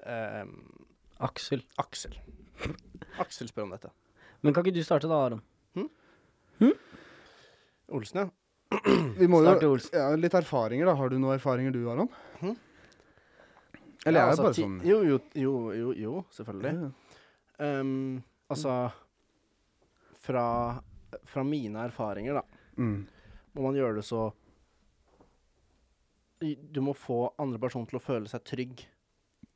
A: eh,
C: Aksel.
A: Aksel. Aksel spør om dette.
C: Men kan ikke du starte da, Aron?
A: Olsen, ja. Mm.
B: Vi må
C: Starte,
B: jo
C: Olsen.
B: ja, Litt erfaringer, da. Har du noen erfaringer du, Aron? Eller
A: ja,
B: jeg er
A: altså,
B: bare
A: ti-
B: sånn
A: Jo, jo, jo, jo, jo selvfølgelig.
B: Ja.
A: Ehm, altså fra, fra mine erfaringer, da,
B: Mm.
A: må man gjøre det så Du må få andre person til å føle seg trygg.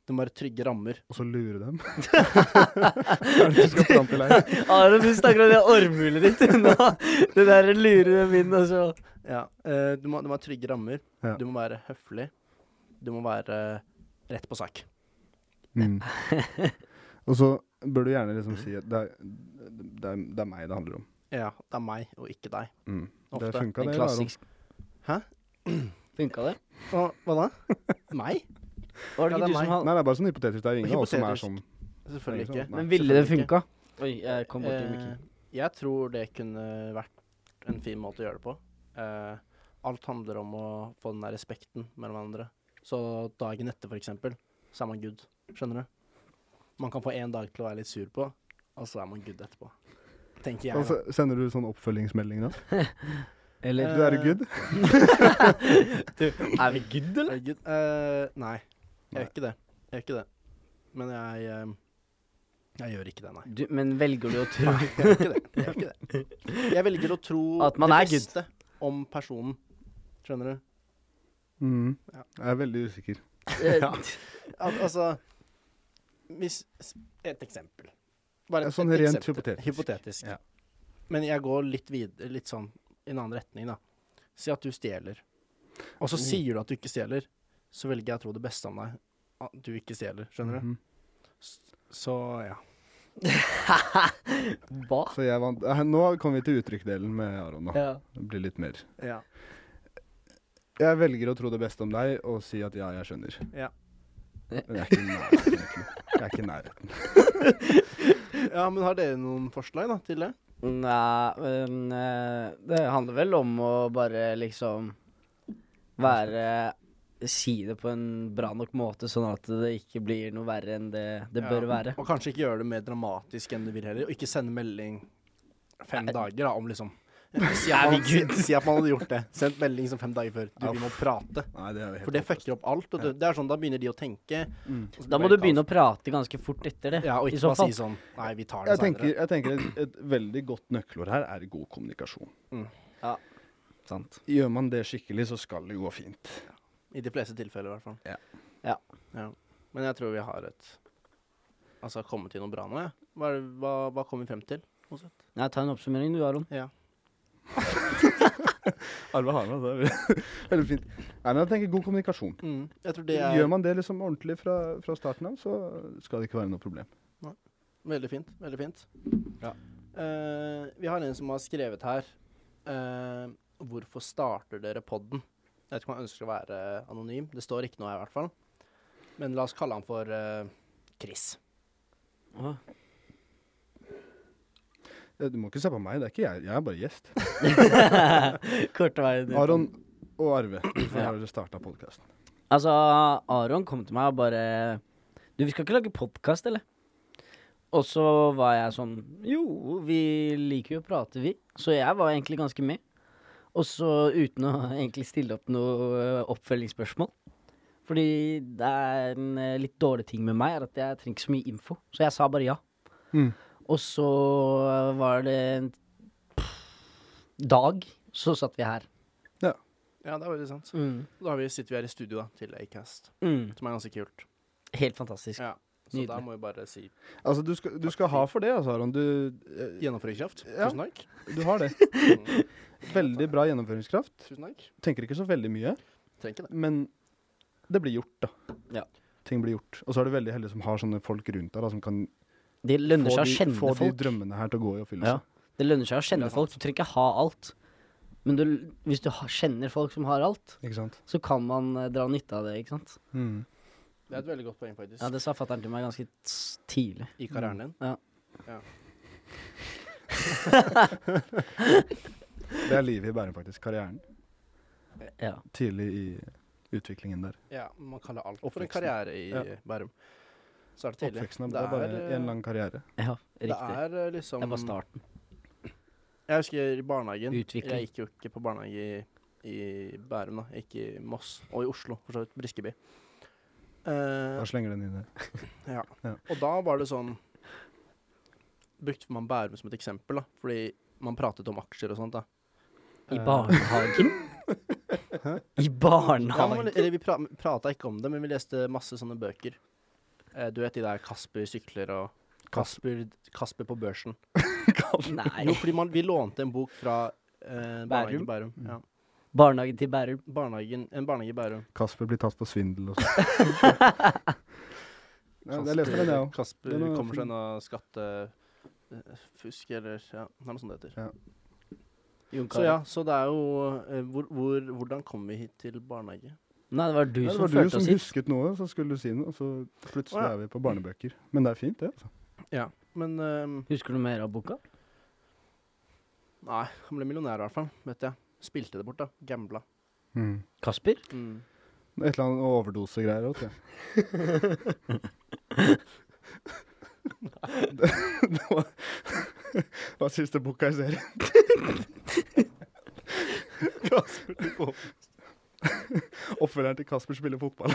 A: Det må være trygge rammer.
B: Og så lure dem? Hva er det du skal fram til her?
C: Aron, du snakker om det ormhulet ditt nå. Det der lurer min, altså.
A: Ja, eh, du, må, du må ha trygge rammer.
B: Ja.
A: Du må være høflig. Du må være rett på sak.
B: Mm. Og så bør du gjerne liksom si at det er, det, er, det er meg det handler om.
A: Ja, det er meg og ikke deg.
B: Mm. Det
A: Ofte.
B: funka, det.
C: Den
B: Aron.
C: klassisk.
A: Hæ?
C: Funka det?
A: Hva, hva da? meg?
C: Var
A: Ja,
C: det ikke
A: det er
C: du som
A: meg.
C: hadde
B: Nei, det er bare sånn hypotetisk. Det er ingen av oss som er
A: Hypotetisk.
B: sånn
A: Selvfølgelig
B: Nei, ikke
A: ikke.
B: sant.
C: Men ville det
A: Selvfølgelig
C: funka? Oi, jeg kom bort til
A: Eh,
C: mikken.
A: jeg tror det kunne vært en fin måte å gjøre det på. Eh, alt handler om å få den der respekten mellom hverandre. Så dagen etter, for eksempel, så er man good. Skjønner du? Man kan få én dag til å være litt sur på, og så er man good etterpå. Tenker jeg.
B: Og
A: da.
C: Altså,
B: så Sender du sånn oppfølgingsmelding da?
C: Eller
B: Du er
A: Eh,
B: good?
C: Er vi good, eller?
A: Er det good? Eh, nei, jeg
B: Nei.
A: gjør ikke det. Jeg gjør ikke det. Men jeg eh, Jeg gjør ikke det, nei.
C: Du, men velger du å tro
A: Nei, jeg gjør ikke det. Jeg, gjør ikke det. jeg velger å tro
C: At man er
A: det
C: good.
A: beste om personen. Skjønner du?
B: Mm.
A: Ja.
B: Jeg er veldig usikker.
A: Ja. Al altså hvis, s- Et eksempel. Bare
B: Ja, sånn rent hypotetisk.
A: hypotetisk.
B: Ja.
A: Men jeg går litt videre, litt sånn i en annen retning, da. Si at du stjeler. Og så
B: Mm.
A: sier du at du ikke stjeler. Så velger jeg å tro det beste om deg. At du ikke stjeler. Skjønner du?
B: Mhm.
A: S- Så ja.
C: Hva?
B: Så jeg vant. Eh, Nå kommer vi til uttrykkdelen med Aron. da.
C: Ja.
B: Det blir litt mer.
A: Ja.
B: Jeg velger å tro det beste om deg og si at ja, jeg skjønner.
A: Ja.
B: Men jeg er ikke i nærheten. egentlig. Jeg er ikke i nærheten.
A: ja, men har dere noen forslag da, til det?
C: Nei, men eh, det handler vel om å bare liksom være Si det på en bra nok måte, sånn at det ikke blir noe verre enn det det bør
A: Ja,
C: være.
A: Og kanskje ikke gjøre det mer dramatisk enn du vil heller. Og ikke sende melding fem dager da, om liksom si at, man, si, si at man hadde gjort det. Sendt melding som fem dager før. Du, vi må prate.
B: Nei, det er jo helt
A: For det fucker opp alt. Og du, det er sånn, Da begynner de å tenke.
B: Mm.
C: Da må du begynne å prate ganske fort etter det.
A: Ja, Og
C: I
A: ikke
C: så
A: bare
C: fall.
A: si sånn Nei, vi tar det
B: jeg
A: senere.
B: tenker, jeg tenker et, et veldig godt nøkkelord her er god kommunikasjon.
A: Mm.
C: Ja.
B: Sant. Gjør man det skikkelig, så skal det gå fint.
A: I de fleste tilfeller, i hvert fall.
B: Ja.
C: Ja.
A: Ja. Men jeg tror vi har et Altså kommet til noe bra nå, jeg. Hva, er det- hva, hva kom vi frem til? sånn.
C: Nei, ta en oppsummering du, Aron.
A: Ja.
B: Arve Harman, det er veldig fint. Nei, men jeg tenker god kommunikasjon.
A: Mm. Jeg tror det er
B: Gjør man det liksom ordentlig fra, fra starten av, så skal det ikke være noe problem.
A: Veldig fint. Veldig fint.
B: Ja.
A: Eh, vi har en som har skrevet her eh, Hvorfor starter dere podden? Jeg vet ikke om han ønsker å være anonym. Det står ikke noe her, i hvert fall. Men la oss kalle han for eh, Chris.
C: Åh.
B: Eh, Du må ikke se på meg, det er ikke jeg. Jeg er bare gjest.
C: Kort vei. ned.
B: Aron og Arve, hvorfor
C: Ja.
B: har dere starta podkasten?
C: Altså, Aron kom til meg og bare Du, vi skal ikke lage podkast, eller? Og så var jeg sånn Jo, vi liker jo å prate, vi. Så jeg var egentlig ganske med. Og så uten å egentlig stille opp noe eh, oppfølgingsspørsmål. Fordi det er en eh, litt dårlig ting med meg, er at jeg trenger ikke så mye info. Så jeg sa bare ja.
B: Mm.
C: Og så var det en dag, så satt vi her.
A: Ja, det er veldig sant.
C: Mm.
A: Da har vi, sitter vi her i studio da, til Acast,
C: Mm.
A: som er ganske kult.
C: Helt fantastisk.
A: Ja. Så
C: Nydelig.
A: da må vi bare si
B: Altså, du skal, du skal ha for det, altså, Aron. Du, eh,
A: gjennomføringskraft.
B: Ja.
A: Tusen takk.
B: du har det.
A: Mm,
B: Veldig bra gjennomføringskraft.
A: tusen takk.
B: Tenker ikke så veldig mye.
A: Trenger ikke det.
B: Men det blir gjort, da.
C: Ja.
B: Ting blir gjort. Og så er du veldig heldig som har sånne folk rundt deg da, som kan
C: Det lønner
B: få,
C: seg å
B: de,
C: kjenne
B: få de
C: folk.
B: drømmene her til å gå i oppfyllelse.
C: Ja. Det lønner seg å
A: Det
C: kjenne
A: er sant.
C: folk. Du trenger ikke ha alt. Men du, hvis du ha, kjenner folk som har alt,
B: Ikke sant?
C: så kan man eh, dra nytte av det, ikke sant?
B: Mm.
A: Det er et veldig godt poeng, faktisk.
C: Ja, det sa fatter'n til meg ganske s- tidlig.
A: I karrieren din.
B: Det er livet i Bærum, faktisk. Karrieren.
C: Ja.
B: Tidlig i utviklingen der.
A: Mm. Ja, man kaller alt for en
B: Oppveksten.
A: karriere i
B: Ja.
A: Bærum. Så er det tidlig.
B: Oppveksten er, det er bare
A: eh,
B: en lang karriere.
C: ja riktig.
A: Det er eh,
C: Det
A: liksom
C: er bare starten.
A: Jeg husker i barnehagen
C: Utvikling.
A: Jeg gikk jo ikke på barnehage i, i Bærum, da. Jeg gikk i Moss, og i Oslo, for så vidt. Briskeby. Eh,
B: Da slenger den inn der.
A: ja.
B: ja.
A: Og da var det sånn Brukte man Bærum som et eksempel, da, fordi man pratet om aksjer og sånt. da.
C: I
A: Eh,
C: barnehagen. I
A: Ja, men,
C: barnehagen.
A: eller vi pra prata ikke om det, men vi leste masse sånne bøker. Eh, du vet de der Kasper sykler og Kasper, Kasper på børsen.
C: Nei.
A: Jo, fordi man, vi lånte en bok fra eh, barnehagen i Bærum.
C: Bærum? Mm.
A: Ja.
C: Barnehagen til Bærum.
A: Barnehagen, en barnehage i Bærum.
B: Kasper blir tatt på svindel og sånn. ja, jeg leste den, jeg òg.
A: Kasper
B: Den er
A: kommer
B: fin.
A: seg unna skattefusk, eh, eller ja, det er noe sånt det heter.
C: Jon
A: Så
C: Carew.
A: ja, så det er jo eh, hvor, hvor, Hvordan kom vi hit til barnehage?
C: Nei, det var du
B: Nei, det
C: som
B: var du
C: førte
B: som
C: oss hit.
B: husket noe, så skulle du si noe, og så
A: Å,
B: plutselig
A: ja.
B: er vi på barnebøker. Men det er fint, det. altså.
A: Ja, men ehm,
C: Husker du mer av boka?
A: Nei, han ble millionær i hvert fall, vet jeg. Spilte det bort, da. Gambla.
C: Kasper?
A: Mm.
B: Et eller annet overdosegreier òg, tror jeg. det, det var, det var siste boka i serien. Kasper til fotball. Oppfølgeren til Kasper spiller fotball.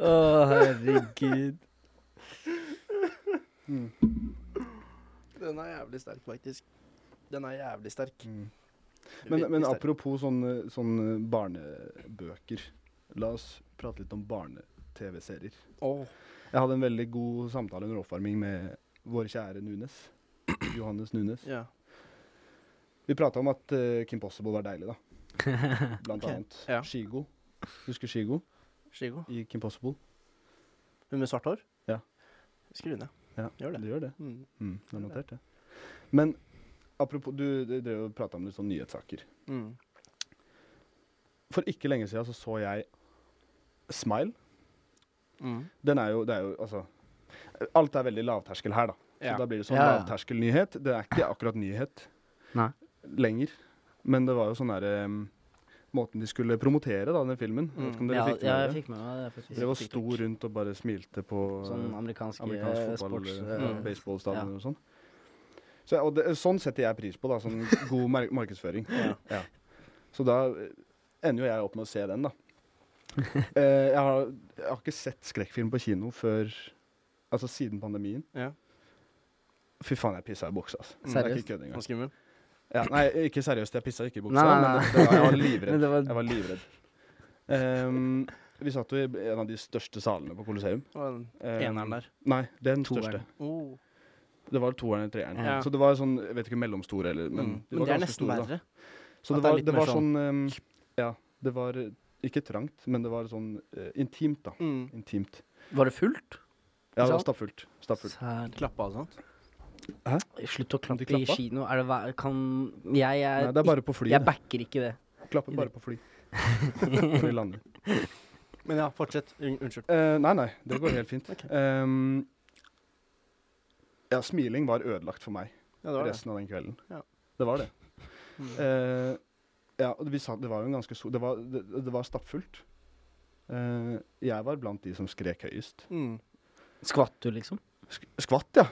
C: Å, herregud.
A: Den er jævlig sterk, faktisk. Den er jævlig sterk.
B: Mm. Men, men
A: Virkelig sterk.
B: apropos sånne, sånne barnebøker. La oss prate litt om barne-TV-serier.
A: Åh,
B: Jeg hadde en veldig god samtale under oppvarming med vår kjære Nunes. Johannes Nunes.
A: ja.
B: Vi prata om at eh, Kim Possible var deilig, da. Blant
A: Ok,
B: annet
A: ja.
B: Shigo. Husker Shigo
A: Shigo.
B: i Kim Possible?
A: Hun med svart hår?
B: Ja.
A: Skru ned.
B: Ja,
A: Gjør det.
B: Du gjør det.
A: Mm.
B: Mm, du har notert det. Men apropos, du du drev og prata om litt sånne nyhetssaker.
A: Mm.
B: For ikke lenge siden så, så jeg Smile.
A: Mm.
B: Den er jo, det er jo altså Alt er veldig lavterskel her, da. Så
A: Ja.
B: da blir det sånn
C: Ja, ja.
B: lavterskelnyhet. Det er ikke akkurat nyhet
C: Nei.
B: lenger. Men det var jo sånn derre um, Måten de skulle promotere da, den filmen. Jeg vet ikke om dere
C: Ja,
B: fikk det
C: ja,
B: med
C: jeg
B: dere?
C: fikk med meg det. faktisk.
B: Dere var
C: TikTok.
B: sto rundt og bare smilte på
C: Sånn
B: eh,
C: amerikansk,
B: amerikansk fotball,
C: sports...
B: eh,
A: Mm.
B: baseballstadion
C: ja.
B: og sånn. Så, og det, sånn setter jeg pris på, da. Sånn god mar markedsføring.
A: Ja.
B: Ja. Så da eh, ender jo jeg opp med å se den, da. Eh, jeg, har, jeg har ikke sett skrekkfilm på kino før Altså siden pandemien.
A: ja.
B: Fy faen, jeg pissa i buksa, altså.
A: Mm.
B: Det er
C: Seriøst?
B: ikke kødd engang.
A: Og skummel.
B: Ja, nei, ikke seriøst, jeg pissa ikke i buksa,
C: Nei, nei, nei.
B: men det, det var, jeg var
C: Men
B: livredd.
C: det var-
B: Jeg var livredd. Ehm, vi satt jo i en av de største salene på Colosseum.
A: Og den
B: Ehm,
A: eneren der.
B: Nei, den
C: Toeren.
B: største.
A: Oh.
B: Det var toeren eller treeren.
A: Ja. Mm.
B: Så det var sånn, jeg vet ikke, mellomstore eller
A: Men,
B: Men, de
A: men
B: var
A: det er
B: ganske
A: nesten
B: store, da.
A: verre. At det
B: Så det
A: er
B: var,
A: litt
B: det
A: mer
B: var sånn
A: sånn-
B: ehm, Ja, det var eh, ikke trangt, men det var sånn eh, intimt, da.
A: Mm.
B: Intimt.
C: Var det fullt?
B: Ja, det
C: Sal?
B: var stappfullt. Stappfullt.
C: Særlig.
A: Klappa og sånt.
C: Slutt å
B: Kan de
C: klappe i
B: klappe?
C: kino. Er det hver... Kan Jeg er,
B: Nei, det er bare på
C: Jeg
B: flyet. da.
C: backer ikke det.
B: Klapper bare på fly. Når de lander.
A: Men ja, fortsett. Un unnskyld.
B: Eh, nei, nei. Det går helt fint.
A: Ok.
B: Ehm, ja, smiling var ødelagt for meg
A: Ja, det var det.
B: resten av den kvelden.
A: Ja.
B: Det var det.
A: Mm.
B: Eh, ja, og vi sa, det var jo en ganske so... Det var, det, det var stappfullt. Eh, jeg var blant de som skrek høyest.
A: Mm.
C: Skvatt du, liksom?
B: Sk skvatt, ja!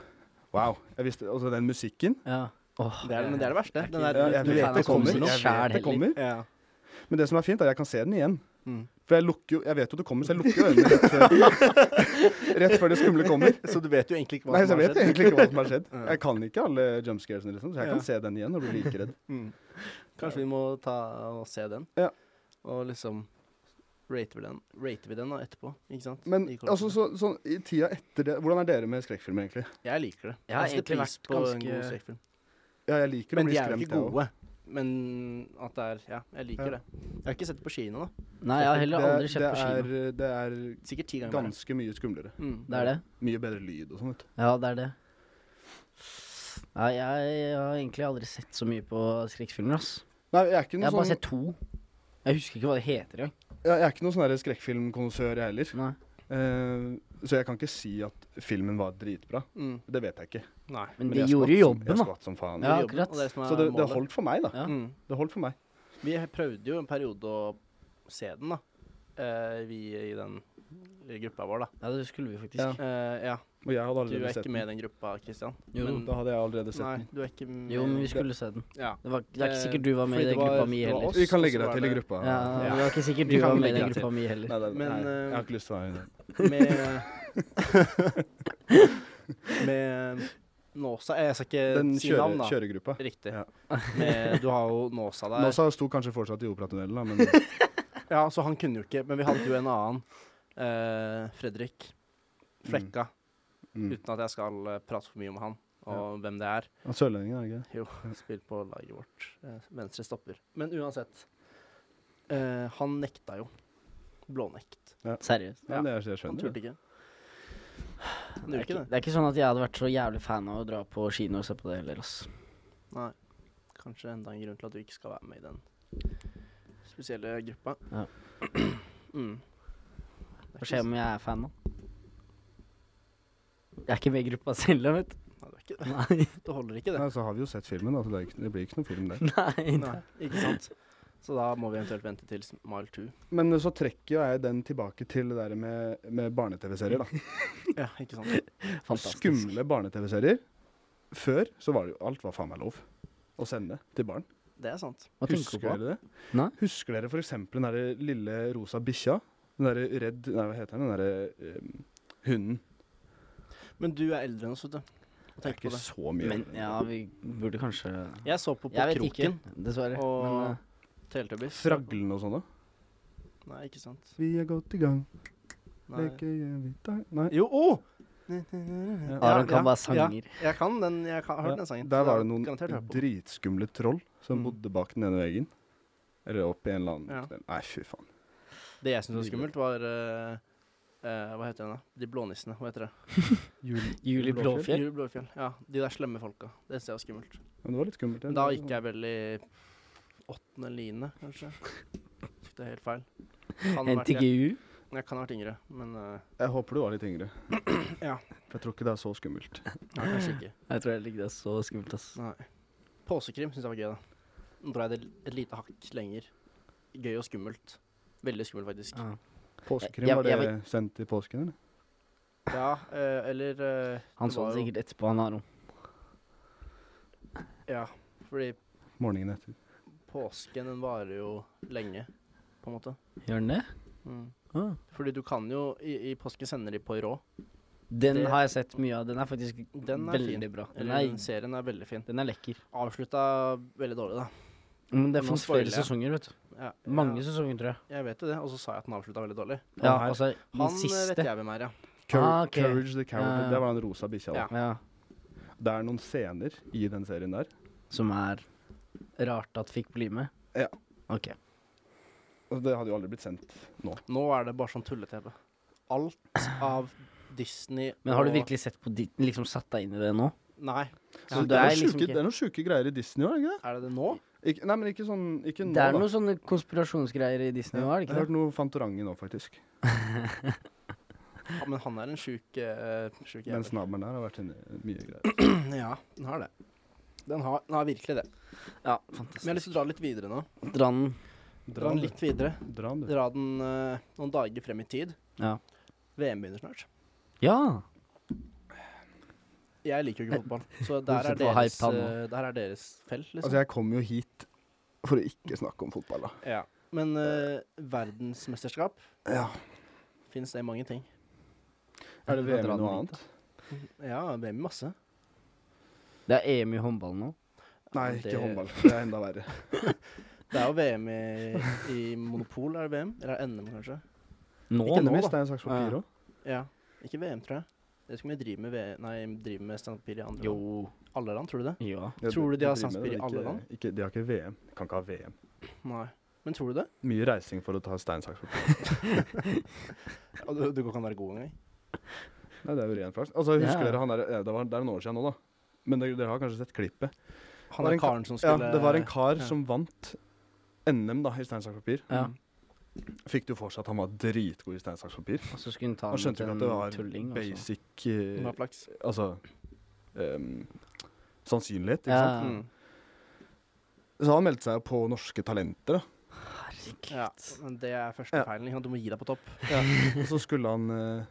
B: Wow. Jeg visste, altså den musikken
C: Ja. Åh,
A: Det er, men det er det verste. Den
B: Ja,
A: der
B: jeg
A: uten
C: du er
B: vet
C: fan
B: det
C: av
A: kommer
B: kommer.
C: Kongen,
B: Jeg
C: sjæl
B: vet det
C: heller.
B: kommer.
A: Ja.
B: Men det som er fint, er at jeg kan se den igjen.
A: Mm.
B: For jeg lukker jo Jeg vet jo det kommer, så jeg lukker jo øynene rett før, rett før det skumle kommer.
A: Så du vet jo egentlig ikke hva
B: Nei, så
A: som
B: jeg
A: har
B: vet
A: skjedd.
B: egentlig ikke hva som har skjedd.
A: Ja.
B: Jeg kan ikke alle jumpscaresene, liksom, så jeg
A: Ja.
B: kan se den igjen og bli like redd.
A: Mm. Kanskje vi må ta og se den,
B: Ja.
A: og liksom rater vi den, rater vi den da etterpå, ikke sant?
B: Men
A: I kortet.
B: altså, så, sånn i tida etter det Hvordan er dere med skrekkfilmer, egentlig?
A: Jeg liker det.
C: Jeg har
A: setter pris
C: egentlig vært
A: på en
C: ganske-
A: god skrekkfilm.
B: Ja, jeg liker å
A: Men
B: bli
A: de er jo
B: skremt,
A: ikke gode. Men at det er Ja, jeg liker
B: Ja.
A: det. Jeg har ikke sett det på kino, da.
C: Nei, jeg har heller aldri sett
B: det
C: på kino.
B: er, det er
A: Sikkert ti ganger. verre.
B: ganske mye skumlere.
A: Mm.
C: Det er det?
B: Mye bedre lyd og sånn, vet du.
C: Ja, det er det. Nei, jeg, jeg har egentlig aldri sett så mye på skrekkfilmer, ass.
B: Nei, jeg er ikke
C: Jeg
B: noen
C: har bare
B: sånn,
C: sett to. Jeg husker ikke hva det heter engang.
B: jeg er ikke noen sånn der skrekkfilmkonsør, jeg heller.
C: Nei.
B: Eh, så jeg kan ikke si at filmen var dritbra.
A: Mm.
B: Det vet jeg ikke.
A: Nei.
C: Men
B: Men
C: de
B: jeg
C: gjorde jo
B: skvatt som-
C: jobben,
B: Jeg
C: da.
B: skvatt som faen.
C: Ja,
A: Det er jobben,
C: akkurat.
A: og det er som er
B: Så det, det
A: målet.
B: holdt for meg, da.
C: Ja.
A: Mm.
B: Det holdt for meg.
A: Vi prøvde jo en periode å se den, da. Eh, vi i den gruppa vår, da.
C: Ja, det skulle vi faktisk.
B: Ja.
A: Eh, ja.
B: Og jeg hadde
A: Du er
B: allerede sett
A: ikke
B: den.
A: med i den gruppa, Christian.
C: Jo,
A: men-
B: Da hadde jeg allerede sett
A: Nei,
B: den.
A: du er ikke med.
C: Jo, men vi skulle se den.
A: Ja.
C: Det, var, det er ikke
A: Eh,
C: sikkert du var med i
A: fordi det
C: den
A: var-
C: gruppa mi
A: det var
C: heller.
A: oss.
B: Vi kan
A: og
B: legge
A: så
B: deg
A: var
B: til i
A: det-
B: gruppa.
C: Ja,
A: Ja.
C: Det var ikke sikkert
B: Vi
C: du
B: kan
C: var med i
B: legge
C: den
B: deg til.
C: gruppa mi heller.
B: Nei, det,
A: Men,
B: nei,
A: eh,
B: jeg har ikke lyst til å være med.
A: Med Med Nåsa Eh, Jeg skal ikke
B: Den
A: si navn,
B: kjøre,
A: da.
B: kjøregruppa.
A: Riktig.
B: Ja.
A: Med, du har jo Nåsa der.
B: Nåsa sto kanskje fortsatt i operatunnelen, da, men
A: Ja, så han kunne jo ikke, men vi hadde jo en annen. eh, Fredrik Flekka.
B: mm.
A: Uten at jeg skal eh, prate for mye om han og hvem det er.
B: Han Sørlendingen, er det ikke det?
A: Jo, spilt på laget vårt. eh, Venstre stopper. Men uansett. eh, han nekta jo. Blånekt.
C: Seriøst.
B: Ja,
A: Ja.
B: det er- jeg
A: Han
B: skjønner det.
A: turte ikke. Han gjorde
C: Det er,
A: ikke
C: ikke,
A: det.
C: det er ikke sånn at jeg hadde vært så jævlig fan av å dra på kino og se på det heller, ass.
A: Kanskje enda en grunn til at du ikke skal være med i den spesielle gruppa.
C: Ja.
A: Mm.
C: Hva skjer om jeg er fan, da? Jeg er ikke med i gruppa selv, da, vet du.
A: Nei, det, er ikke det.
C: Nei.
A: det holder ikke, det.
B: Nei, så har vi jo sett filmen, da, så det, er ikke, det blir ikke noen film der.
C: Nei.
A: Nei, ikke sant? Så da må vi eventuelt vente til Mile 2.
B: Men så trekker jo jeg den tilbake til det der med, med barne-TV-serier, da.
A: Ja, ikke sant?
C: Fantastisk.
B: Skumle barne-TV-serier. Før så var det jo alt var faen meg lov å sende til barn.
A: Det er sant.
C: Hva tenker
B: Husker
C: du på?
B: dere det?
C: Nei.
B: Husker dere f.eks. den derre lille rosa bikkja? Den derre redd Nei, hva heter den? Den derre eh, hunden.
A: Men du er eldre enn oss, vet du. Og
B: Det er
A: tenk på
B: ikke
A: det.
B: så mye.
C: Men ja, vi burde kanskje
A: Jeg så på På
C: Jeg vet ikke,
A: kroken.
C: dessverere.
A: og-
C: Men, eh,
A: Teletubbies.
B: Fraglen og sånn, da?
A: Nei, ikke sant.
B: Vi er godt i gang.
A: Nei.
B: Leke gjør vi dag Nei.
A: Jo, å!
C: Aron kan bare
A: Ja,
C: sanger.
A: jeg kan den. Jeg kan, har hørt den sangen.
B: Der
A: så
B: var
A: jeg
B: det
A: garantert hørt
B: noen
A: på den.
B: dritskumle troll som
A: Mm.
B: bodde bak den ene veggen. Eller opp i en eller annen
A: Ja.
B: knell. Nei, fy faen.
A: Det jeg syntes var skummelt, var eh, eh, Hva heter den, da? De blånissene. Hva heter det?
C: Julie Blåfjell.
A: Jule Blåfjell. Ja, de der slemme folka. Det synes jeg var skummelt.
B: Men det var litt skummelt.
A: Men da gikk jeg vel i åttende eller niende, kanskje. Fikk det helt feil. Kan ha vært jeg,
C: NTGU.
A: jeg kan ha vært yngre, men eh,
B: Jeg håper du var litt yngre.
A: Ja.
B: For jeg tror ikke det er så skummelt.
A: nei, kanskje ikke.
C: Jeg tror jeg likte det er så skummelt, ass.
A: Nei. Påsekrim syns jeg var gøy, da. Nå drar jeg det l- et lite hakk lenger. Gøy og skummelt. Veldig skummelt, faktisk.
C: Ja.
B: Påskekrim,
C: Jeg-
B: var det
C: jeg-
B: sendt i påsken, eller?
A: Ja, eh, eller eh,
C: Han
A: Det
C: så
A: var
C: det
A: jo-
C: sikkert etterpå, han Aron.
A: Ja, fordi
B: Morgenen etter.
A: påsken den varer jo lenge, på en måte.
C: Gjør han det?
A: Mm.
C: Ah.
A: Fordi du kan jo I, i påsken sender de på i rå.
C: Den
A: Det-
C: har jeg sett mye av. Den er faktisk
A: Den er
C: veldig
A: fin.
C: bra. Den
A: Eller,
C: er,
A: den serien er veldig fin.
C: den er lekker.
A: Avslutta veldig dårlig, da.
C: Men det
A: Mm, Nå
C: fins
A: spoiler
C: flere
A: jeg.
C: sesonger, vet du.
A: Ja,
C: Mange
A: ja,
C: sesonger, tror jeg.
A: jeg vet jo det, og så sa jeg at den avslutta veldig dårlig.
C: Ja,
B: her.
C: altså, den
A: Han eh, vet
C: siste.
A: jeg hvem er, ja.
B: Cour
C: Ah, ok.
B: Courage the Coward.
C: Ja.
B: Det var den rosa bikkja. da.
A: Ja.
C: Ja,
B: Det er noen scener i den serien der.
C: som er rart at fikk bli med.
B: Ja.
C: Ok.
B: Og det hadde jo aldri blitt sendt nå.
A: Nå er det bare sånn tulle-TV. Alt av Disney
C: Men har du
A: og-
C: virkelig sett på ditt, liksom satt deg inn i det nå?
A: Nei.
C: Så
B: Så
C: det
B: det,
C: er
B: er
C: liksom
B: sjuke-
C: ikke-
B: det er noen sjuke greier i Disney òg, er det ikke det?
A: Er det det nå?
B: Ikke, nei, men ikke sånn ikke nå,
C: Det
B: da.
C: er noen sånne konspirasjonsgreier i Disney nå, er det
B: Jeg har
C: ikke det?
B: hørt noe Fantorangen nå, faktisk.
A: Ja, men han er en sjuk uh, sjuk jævel.
B: Mens nabelen der har vært inne i mye greier.
A: Ja, den har det. Den har, den har virkelig det. Men jeg
C: Ja,
A: har
C: fantastisk.
A: lyst til å dra litt videre nå.
C: Stranden.
A: Dra den litt videre.
B: Dra den, du.
A: Dra den eh, noen dager frem i tid.
C: Ja.
A: VM begynner snart.
C: Ja.
A: Jeg liker jo ikke fotball, så der er
C: Hvorfor var
A: deres,
C: hyped han
A: eh, der er deres felt, liksom.
B: Altså, jeg kom jo hit for å ikke snakke om fotball, da.
A: ja. Men eh, verdensmesterskap
B: Ja.
A: finnes det i mange ting.
B: Er det
C: Jeg
B: VM
C: drar
B: i
C: den
B: noe
C: litt,
B: annet?
A: Ja, VM i masse.
C: Det er EM i håndball nå.
B: Nei,
A: Det-
B: ikke håndball. Det er enda verre.
A: Det er jo VM i, i Monopol, er det VM? Eller er det NM, kanskje?
C: Nå,
B: Ikke
C: nå,
B: NMS,
C: da.
B: det er en slags papir òg.
A: Ja. Ikke VM, tror jeg. Det skal vi drive med, V- nei, drive med standpapir i andre land.
C: Jo.
A: Alle land, tror du det?
C: Ja.
A: Tror du de har sandspir i alle land?
B: Ikke, de har ikke VM. Kan ikke ha VM.
A: Nei. Men tror du det?
B: Mye reising for å ta stein, saks, papir.
A: Og Du, du kan ikke være god engang?
B: Nei, det er jo ren flaks. Altså, husker
C: Ja.
B: dere han der ja, Det var det er noen år siden nå, da. Men dere, dere har kanskje sett klippet?
A: Han
B: Var
A: er
B: en ka-
A: karen som
B: Ja,
A: skulle
B: det var en kar
A: ja.
B: som vant NM da, i stein, saks, papir.
C: ja.
A: Mm.
B: Fikk det jo for seg at han var dritgod i stein, saks, papir.
C: Og så skulle hun ta
B: Han
C: med
B: skjønte jo
C: til
B: ikke
C: en
B: at det var
C: tulling. altså. og så-
B: basic eh,
A: Det altså. var flaks.
B: Altså ehm, Sannsynlighet, ikke
C: Ja.
B: sant?
A: Mm.
B: Så han meldte seg jo på Norske Talenter, da.
C: Herregud.
A: Ja, men det er første
B: Ja.
A: feilen. ikke sant? Du må gi deg på topp.
B: Og så skulle han eh,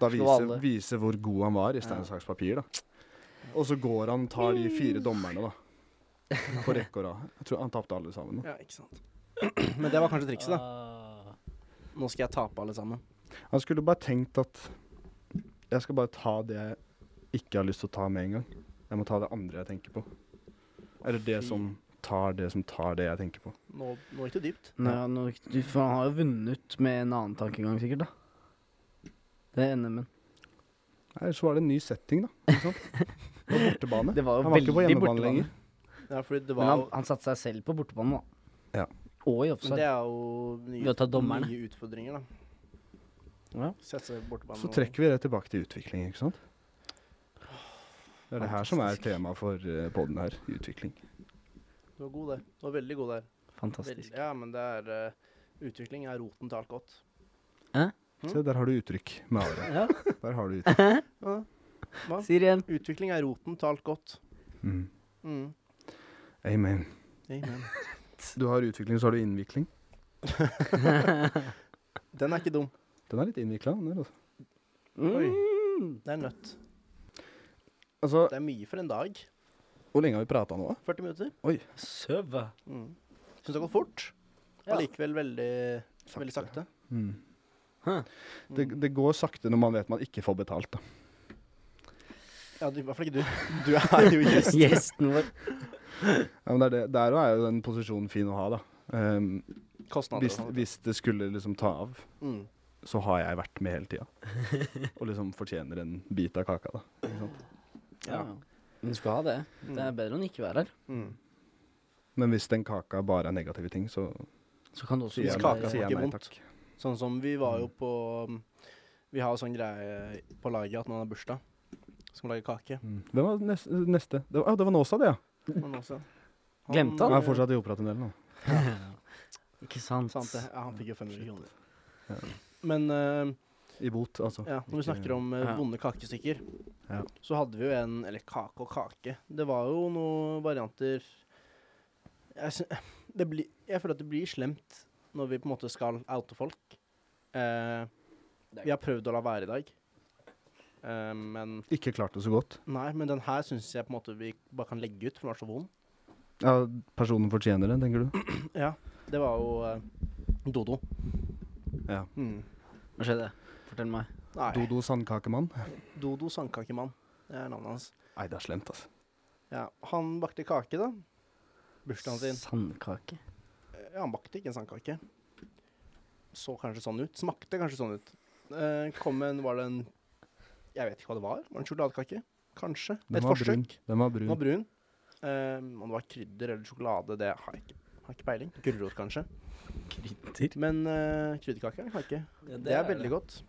B: da
C: Slå
B: vise,
C: alle.
B: vise hvor god han var i stein,
A: Ja.
B: saks, papir, da. Og så går han og tar de fire dommerne, da. På rekke og rad. Jeg tror han tapte alle sammen. Da.
A: Ja, ikke sant. Men det var kanskje trikset,
C: Ah.
A: da. Nå skal jeg tape alle sammen.
B: Han skulle bare tenkt at jeg skal bare ta det jeg ikke har lyst til å ta med en gang. Jeg må ta det andre jeg tenker på. Eller det
A: Fy.
B: som tar det som tar det jeg tenker på.
A: Nå, nå gikk det dypt.
C: Nå, ja, nå, gikk- du, for han har jo vunnet med en annen tankegang, sikkert, da. Det er NM-en.
B: Nei, så var det en ny setting, da. Ikke sant? På bortebane.
C: Det var jo
B: Han var ikke på
C: veldig
B: hjemmebane
C: bortebane.
B: lenger.
A: Ja, fordi det
C: Men
A: var
C: han,
A: jo
C: han satte seg selv på bortebane, da.
B: Ja.
C: Og
A: Men
C: i
A: det
C: offside.
A: er jo nye,
C: Ved å ta dommerne.
A: nye utfordringer, da.
C: Ja.
A: Sette seg borte på
B: Så trekker vi det tilbake til utvikling, ikke sant? Det er det her som er
C: Fantastisk.
B: temaet for eh, podden her. Utvikling.
A: Du var god der. Du var veldig god der.
C: Fantastisk.
A: Veldig- Ja, men det er eh, Utvikling er roten til alt godt.
B: Se, der har du uttrykk med Are.
C: Mm. Ja,
B: Der har du uttrykk.
A: Hva?
C: sier igjen.
A: Utvikling er roten til alt godt.
B: Mm.
A: Mm.
B: Amen.
A: Amen.
B: Du har utvikling, så har du innvikling.
A: Den er ikke dum.
B: Den er litt innvikla, den der, altså.
C: Mm.
A: Det er nødt.
B: Altså,
A: Det er mye for en dag.
B: hvor lenge har vi prata nå, da?
A: 40 minutter.
C: Søv.
A: Mm. Syns det har gått fort.
C: Ja.
A: Allikevel veldig sakte. Veldig sakte.
B: Mm.
C: Hæ.
B: Det, det går sakte når man vet man ikke får betalt, da.
A: Ja, du, i hvert fall ikke du. Du er jo gjest.
C: Gjesten vår.
B: Ja, men det er det, der òg er jo den posisjonen fin å ha, da. Ehm,
A: Kostnader.
B: hvis,
A: og sånt.
B: hvis det skulle liksom ta av,
A: Mm.
B: så har jeg vært med hele tida. Og liksom fortjener en bit av kaka, da. Ikke sant?
C: Ja. Men du skal ha det. Det er bedre enn ikke være her.
A: Mm.
B: Men hvis den kaka bare er negative ting, så
C: Så kan du også
B: sier jeg,
A: Hvis
B: nei-
A: kaka
B: sier jeg
A: smaker
B: nei
A: vondt.
B: takk.
A: Sånn som vi var jo på um, Vi har jo sånn greie på laget at når man har bursdag, skal man lage kake.
B: Mm. Hvem var nes- neste? Det var, ah, det var Nåsa, det, ja.
A: Men også, han, eh,
C: Glemte han?
B: Han er fortsatt i operatunnelen nå.
C: Ikke sant?
A: Sant det. Ja, han fikk jo 500 kroner. Men eh,
B: I bot, altså.
A: ja, når vi snakker om eh,
C: Ja.
A: vonde kakestykker,
B: Ja.
A: så hadde vi jo en Eller kake og kake. Det var jo noen varianter Jeg, syn- det blir- jeg føler at det blir slemt når vi på en måte skal oute folk. Eh, vi har prøvd å la være i dag, Eh, men
B: Ikke klart det så godt.
A: Nei, men den her syns jeg på en måte vi bare kan legge ut, for den var så vond.
B: Ja, Personen fortjener det, tenker du?
A: Ja, det var jo eh, Dodo.
B: Ja.
A: Mm.
C: Hva skjedde? Fortell meg.
A: Nei. Dodo,
B: Dodo Sandkakemann?
A: Sandkakemann. Det er navnet hans.
B: Nei, det er slemt, altså.
A: Ja, Han bakte kake, da. Bursdagen sin. Eh,
C: Sandkake.
A: Ja, han bakte ikke en sandkake. Så kanskje sånn ut. Smakte kanskje sånn ut. Eh, kom en Var det en Jeg vet ikke hva det var. Var det en sjokoladekake? Kanskje.
B: Den
A: Et
B: var brun.
A: forsøk.
B: Den var brun.
A: Den var brun. Eh, om det var krydder eller sjokolade, det har jeg ikke, har ikke peiling. Gulrot, kanskje.
C: Krydder.
A: Men eh, krydderkake er kake.
C: Ja,
A: Det er veldig godt.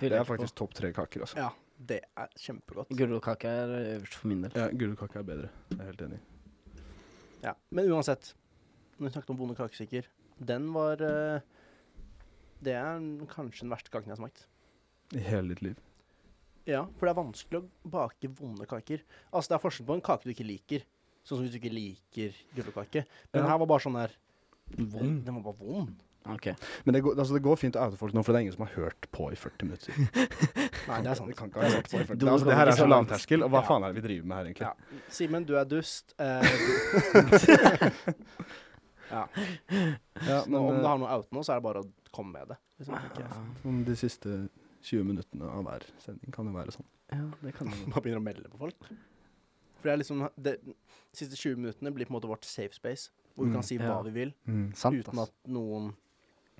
B: Det er faktisk topp tre kaker, altså.
A: Ja, det er kjempegodt.
C: Gulrotkake er øverst for min del.
B: Ja, Gulrotkake er bedre. Jeg er helt enig.
A: Ja, Men uansett, når vi snakket om Bonde kakestykker, den var eh, Det er den- kanskje den verste kaken jeg har smakt.
B: I hele ditt liv.
A: Ja, for det er vanskelig å bake vonde kaker. Altså, det er forskjell på en kake du ikke liker, sånn som hvis du ikke liker gulrotkake. Men
B: Ja.
A: den her var bare sånn der
C: Vond.
A: Den var bare vond.
C: Ok.
B: Men det går, altså, det går fint å oute folk nå, for det er ingen som har hørt på i 40 minutter.
A: Nei, det er
B: Vi
A: sant.
B: kan ikke ha hørt på i 40 minutter.
C: Dodo
B: Altså, det
C: kan
B: her
C: ikke
B: er så
C: så langt.
B: lavterskel, og hva
A: Ja.
B: faen er det vi driver med her, egentlig?
A: Ja. Simen, du er dust. Eh, ja.
B: Ja,
A: Men, om det
B: men eh,
A: har noe out nå, så er det bare å komme med det. Liksom, tenker jeg.
B: sånn de siste 20 minuttene av hver sending kan jo være sånn.
C: Ja, det kan du.
A: Man begynner å melde på folk. For det er liksom det, De siste 20 minuttene blir på en måte vårt safe space, hvor vi
B: Mm.
A: kan si hva
C: Ja.
A: vi vil
C: Sant,
A: uten at noen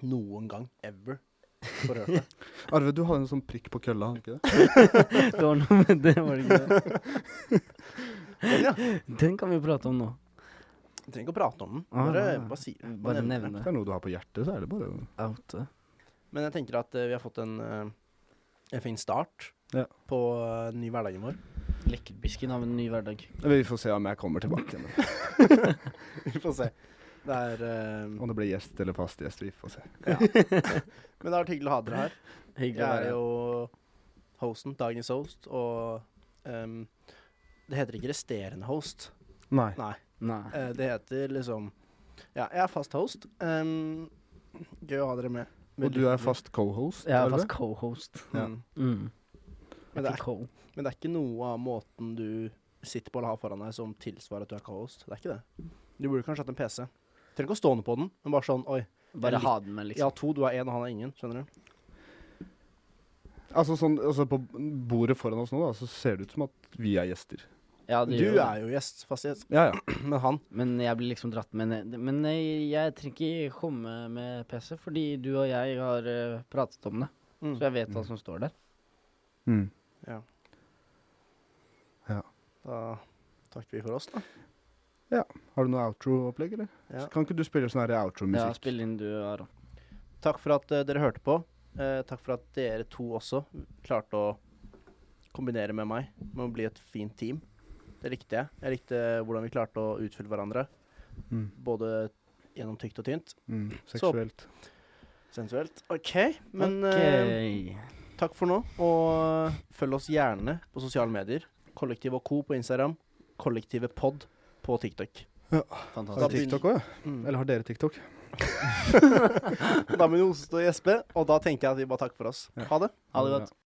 A: noen gang ever får hørt det.
B: Arve, du hadde en sånn prikk på kølla, hadde du ikke det?
C: Det var noe med det, var det ikke det?
A: Men ja,
C: Den kan vi prate om nå.
A: vi trenger ikke å prate om den.
C: Ah,
A: Bare,
C: nei, nei.
A: bare si det.
C: Bare
A: nevne det.
B: Hvis
C: nevne eh.
B: det er noe du har på hjertet, så er det bare å
C: oute.
A: Men jeg tenker at eh, vi har fått en, eh, en fin start
B: Ja.
A: på eh, den nye hverdagen vår.
C: Lekkerbisken av en ny hverdag.
B: Vi får se om jeg kommer tilbake igjen.
A: vi får se. Det er eh,
B: Om det blir gjest eller fast gjest, vi får se.
A: ja. Men det har vært hyggelig å ha dere her.
C: Hyggelig å
A: Jeg er
C: være her.
A: jo hosten, dagens host, og ehm, Det heter ikke resterende host.
B: Nei.
A: Nei.
C: Nei.
A: eh, det heter liksom Ja, jeg er fast host. ehm, gøy å ha dere med.
B: Og du er fast cohost?
C: Jeg er
B: Arve?
C: fast co-host.
B: ja.
A: Mm.
C: Mm.
A: Men det
C: Ikke
A: er-
C: co.
A: Men det er ikke noe av måten du sitter på eller har foran deg, som tilsvarer at du er co-host. Det er ikke det. Du burde kanskje hatt en PC. Trenger ikke å stå ned på den, men bare sånn Oi,
C: Bare ha den med,
A: jeg
C: liksom.
A: har to, du har én, og han har ingen. Skjønner du?
B: Altså sånn, altså På bordet foran oss nå da, så ser det ut som at vi er gjester.
C: Ja, det gjør
A: Du
C: jo det.
A: er jo gjest, fast gjest,
B: Ja, ja.
A: men han
C: Men jeg blir liksom dratt med ned. Men jeg, jeg trenger ikke komme med PC, fordi du og jeg har eh, pratet om det.
A: mm.
C: Så jeg vet hva som står der.
B: Mm.
A: Da takker vi for oss, da.
B: Har du noe outro-opplegg, eller?
A: Ja.
B: Kan ikke du spille sånn her
C: Ja,
B: outro-musikk?
C: spill inn du, Aron.
A: Takk for at eh, dere hørte på. Eh, takk for at dere to også klarte å kombinere med meg med å bli et fint team. Det likte jeg. Jeg likte hvordan vi klarte å utfylle hverandre.
B: Mm.
A: Både gjennom tykt og tynt.
B: Mm, seksuelt.
A: Sensuelt. OK, men eh,
C: Ok.
A: takk for nå. Og eh, følg oss gjerne på sosiale medier. Kollektiv og Co. på Instagram. Kollektivet Pod på TikTok. da
B: Har du
C: Fantastisk.
A: begynner-
B: TikTok òg, ja?
A: Mm.
B: Eller har dere TikTok?
A: Da må vi hoste og gjespe, og da tenker jeg at vi bare takker for oss. Ha det.
C: Ha det
B: Ja.
C: godt.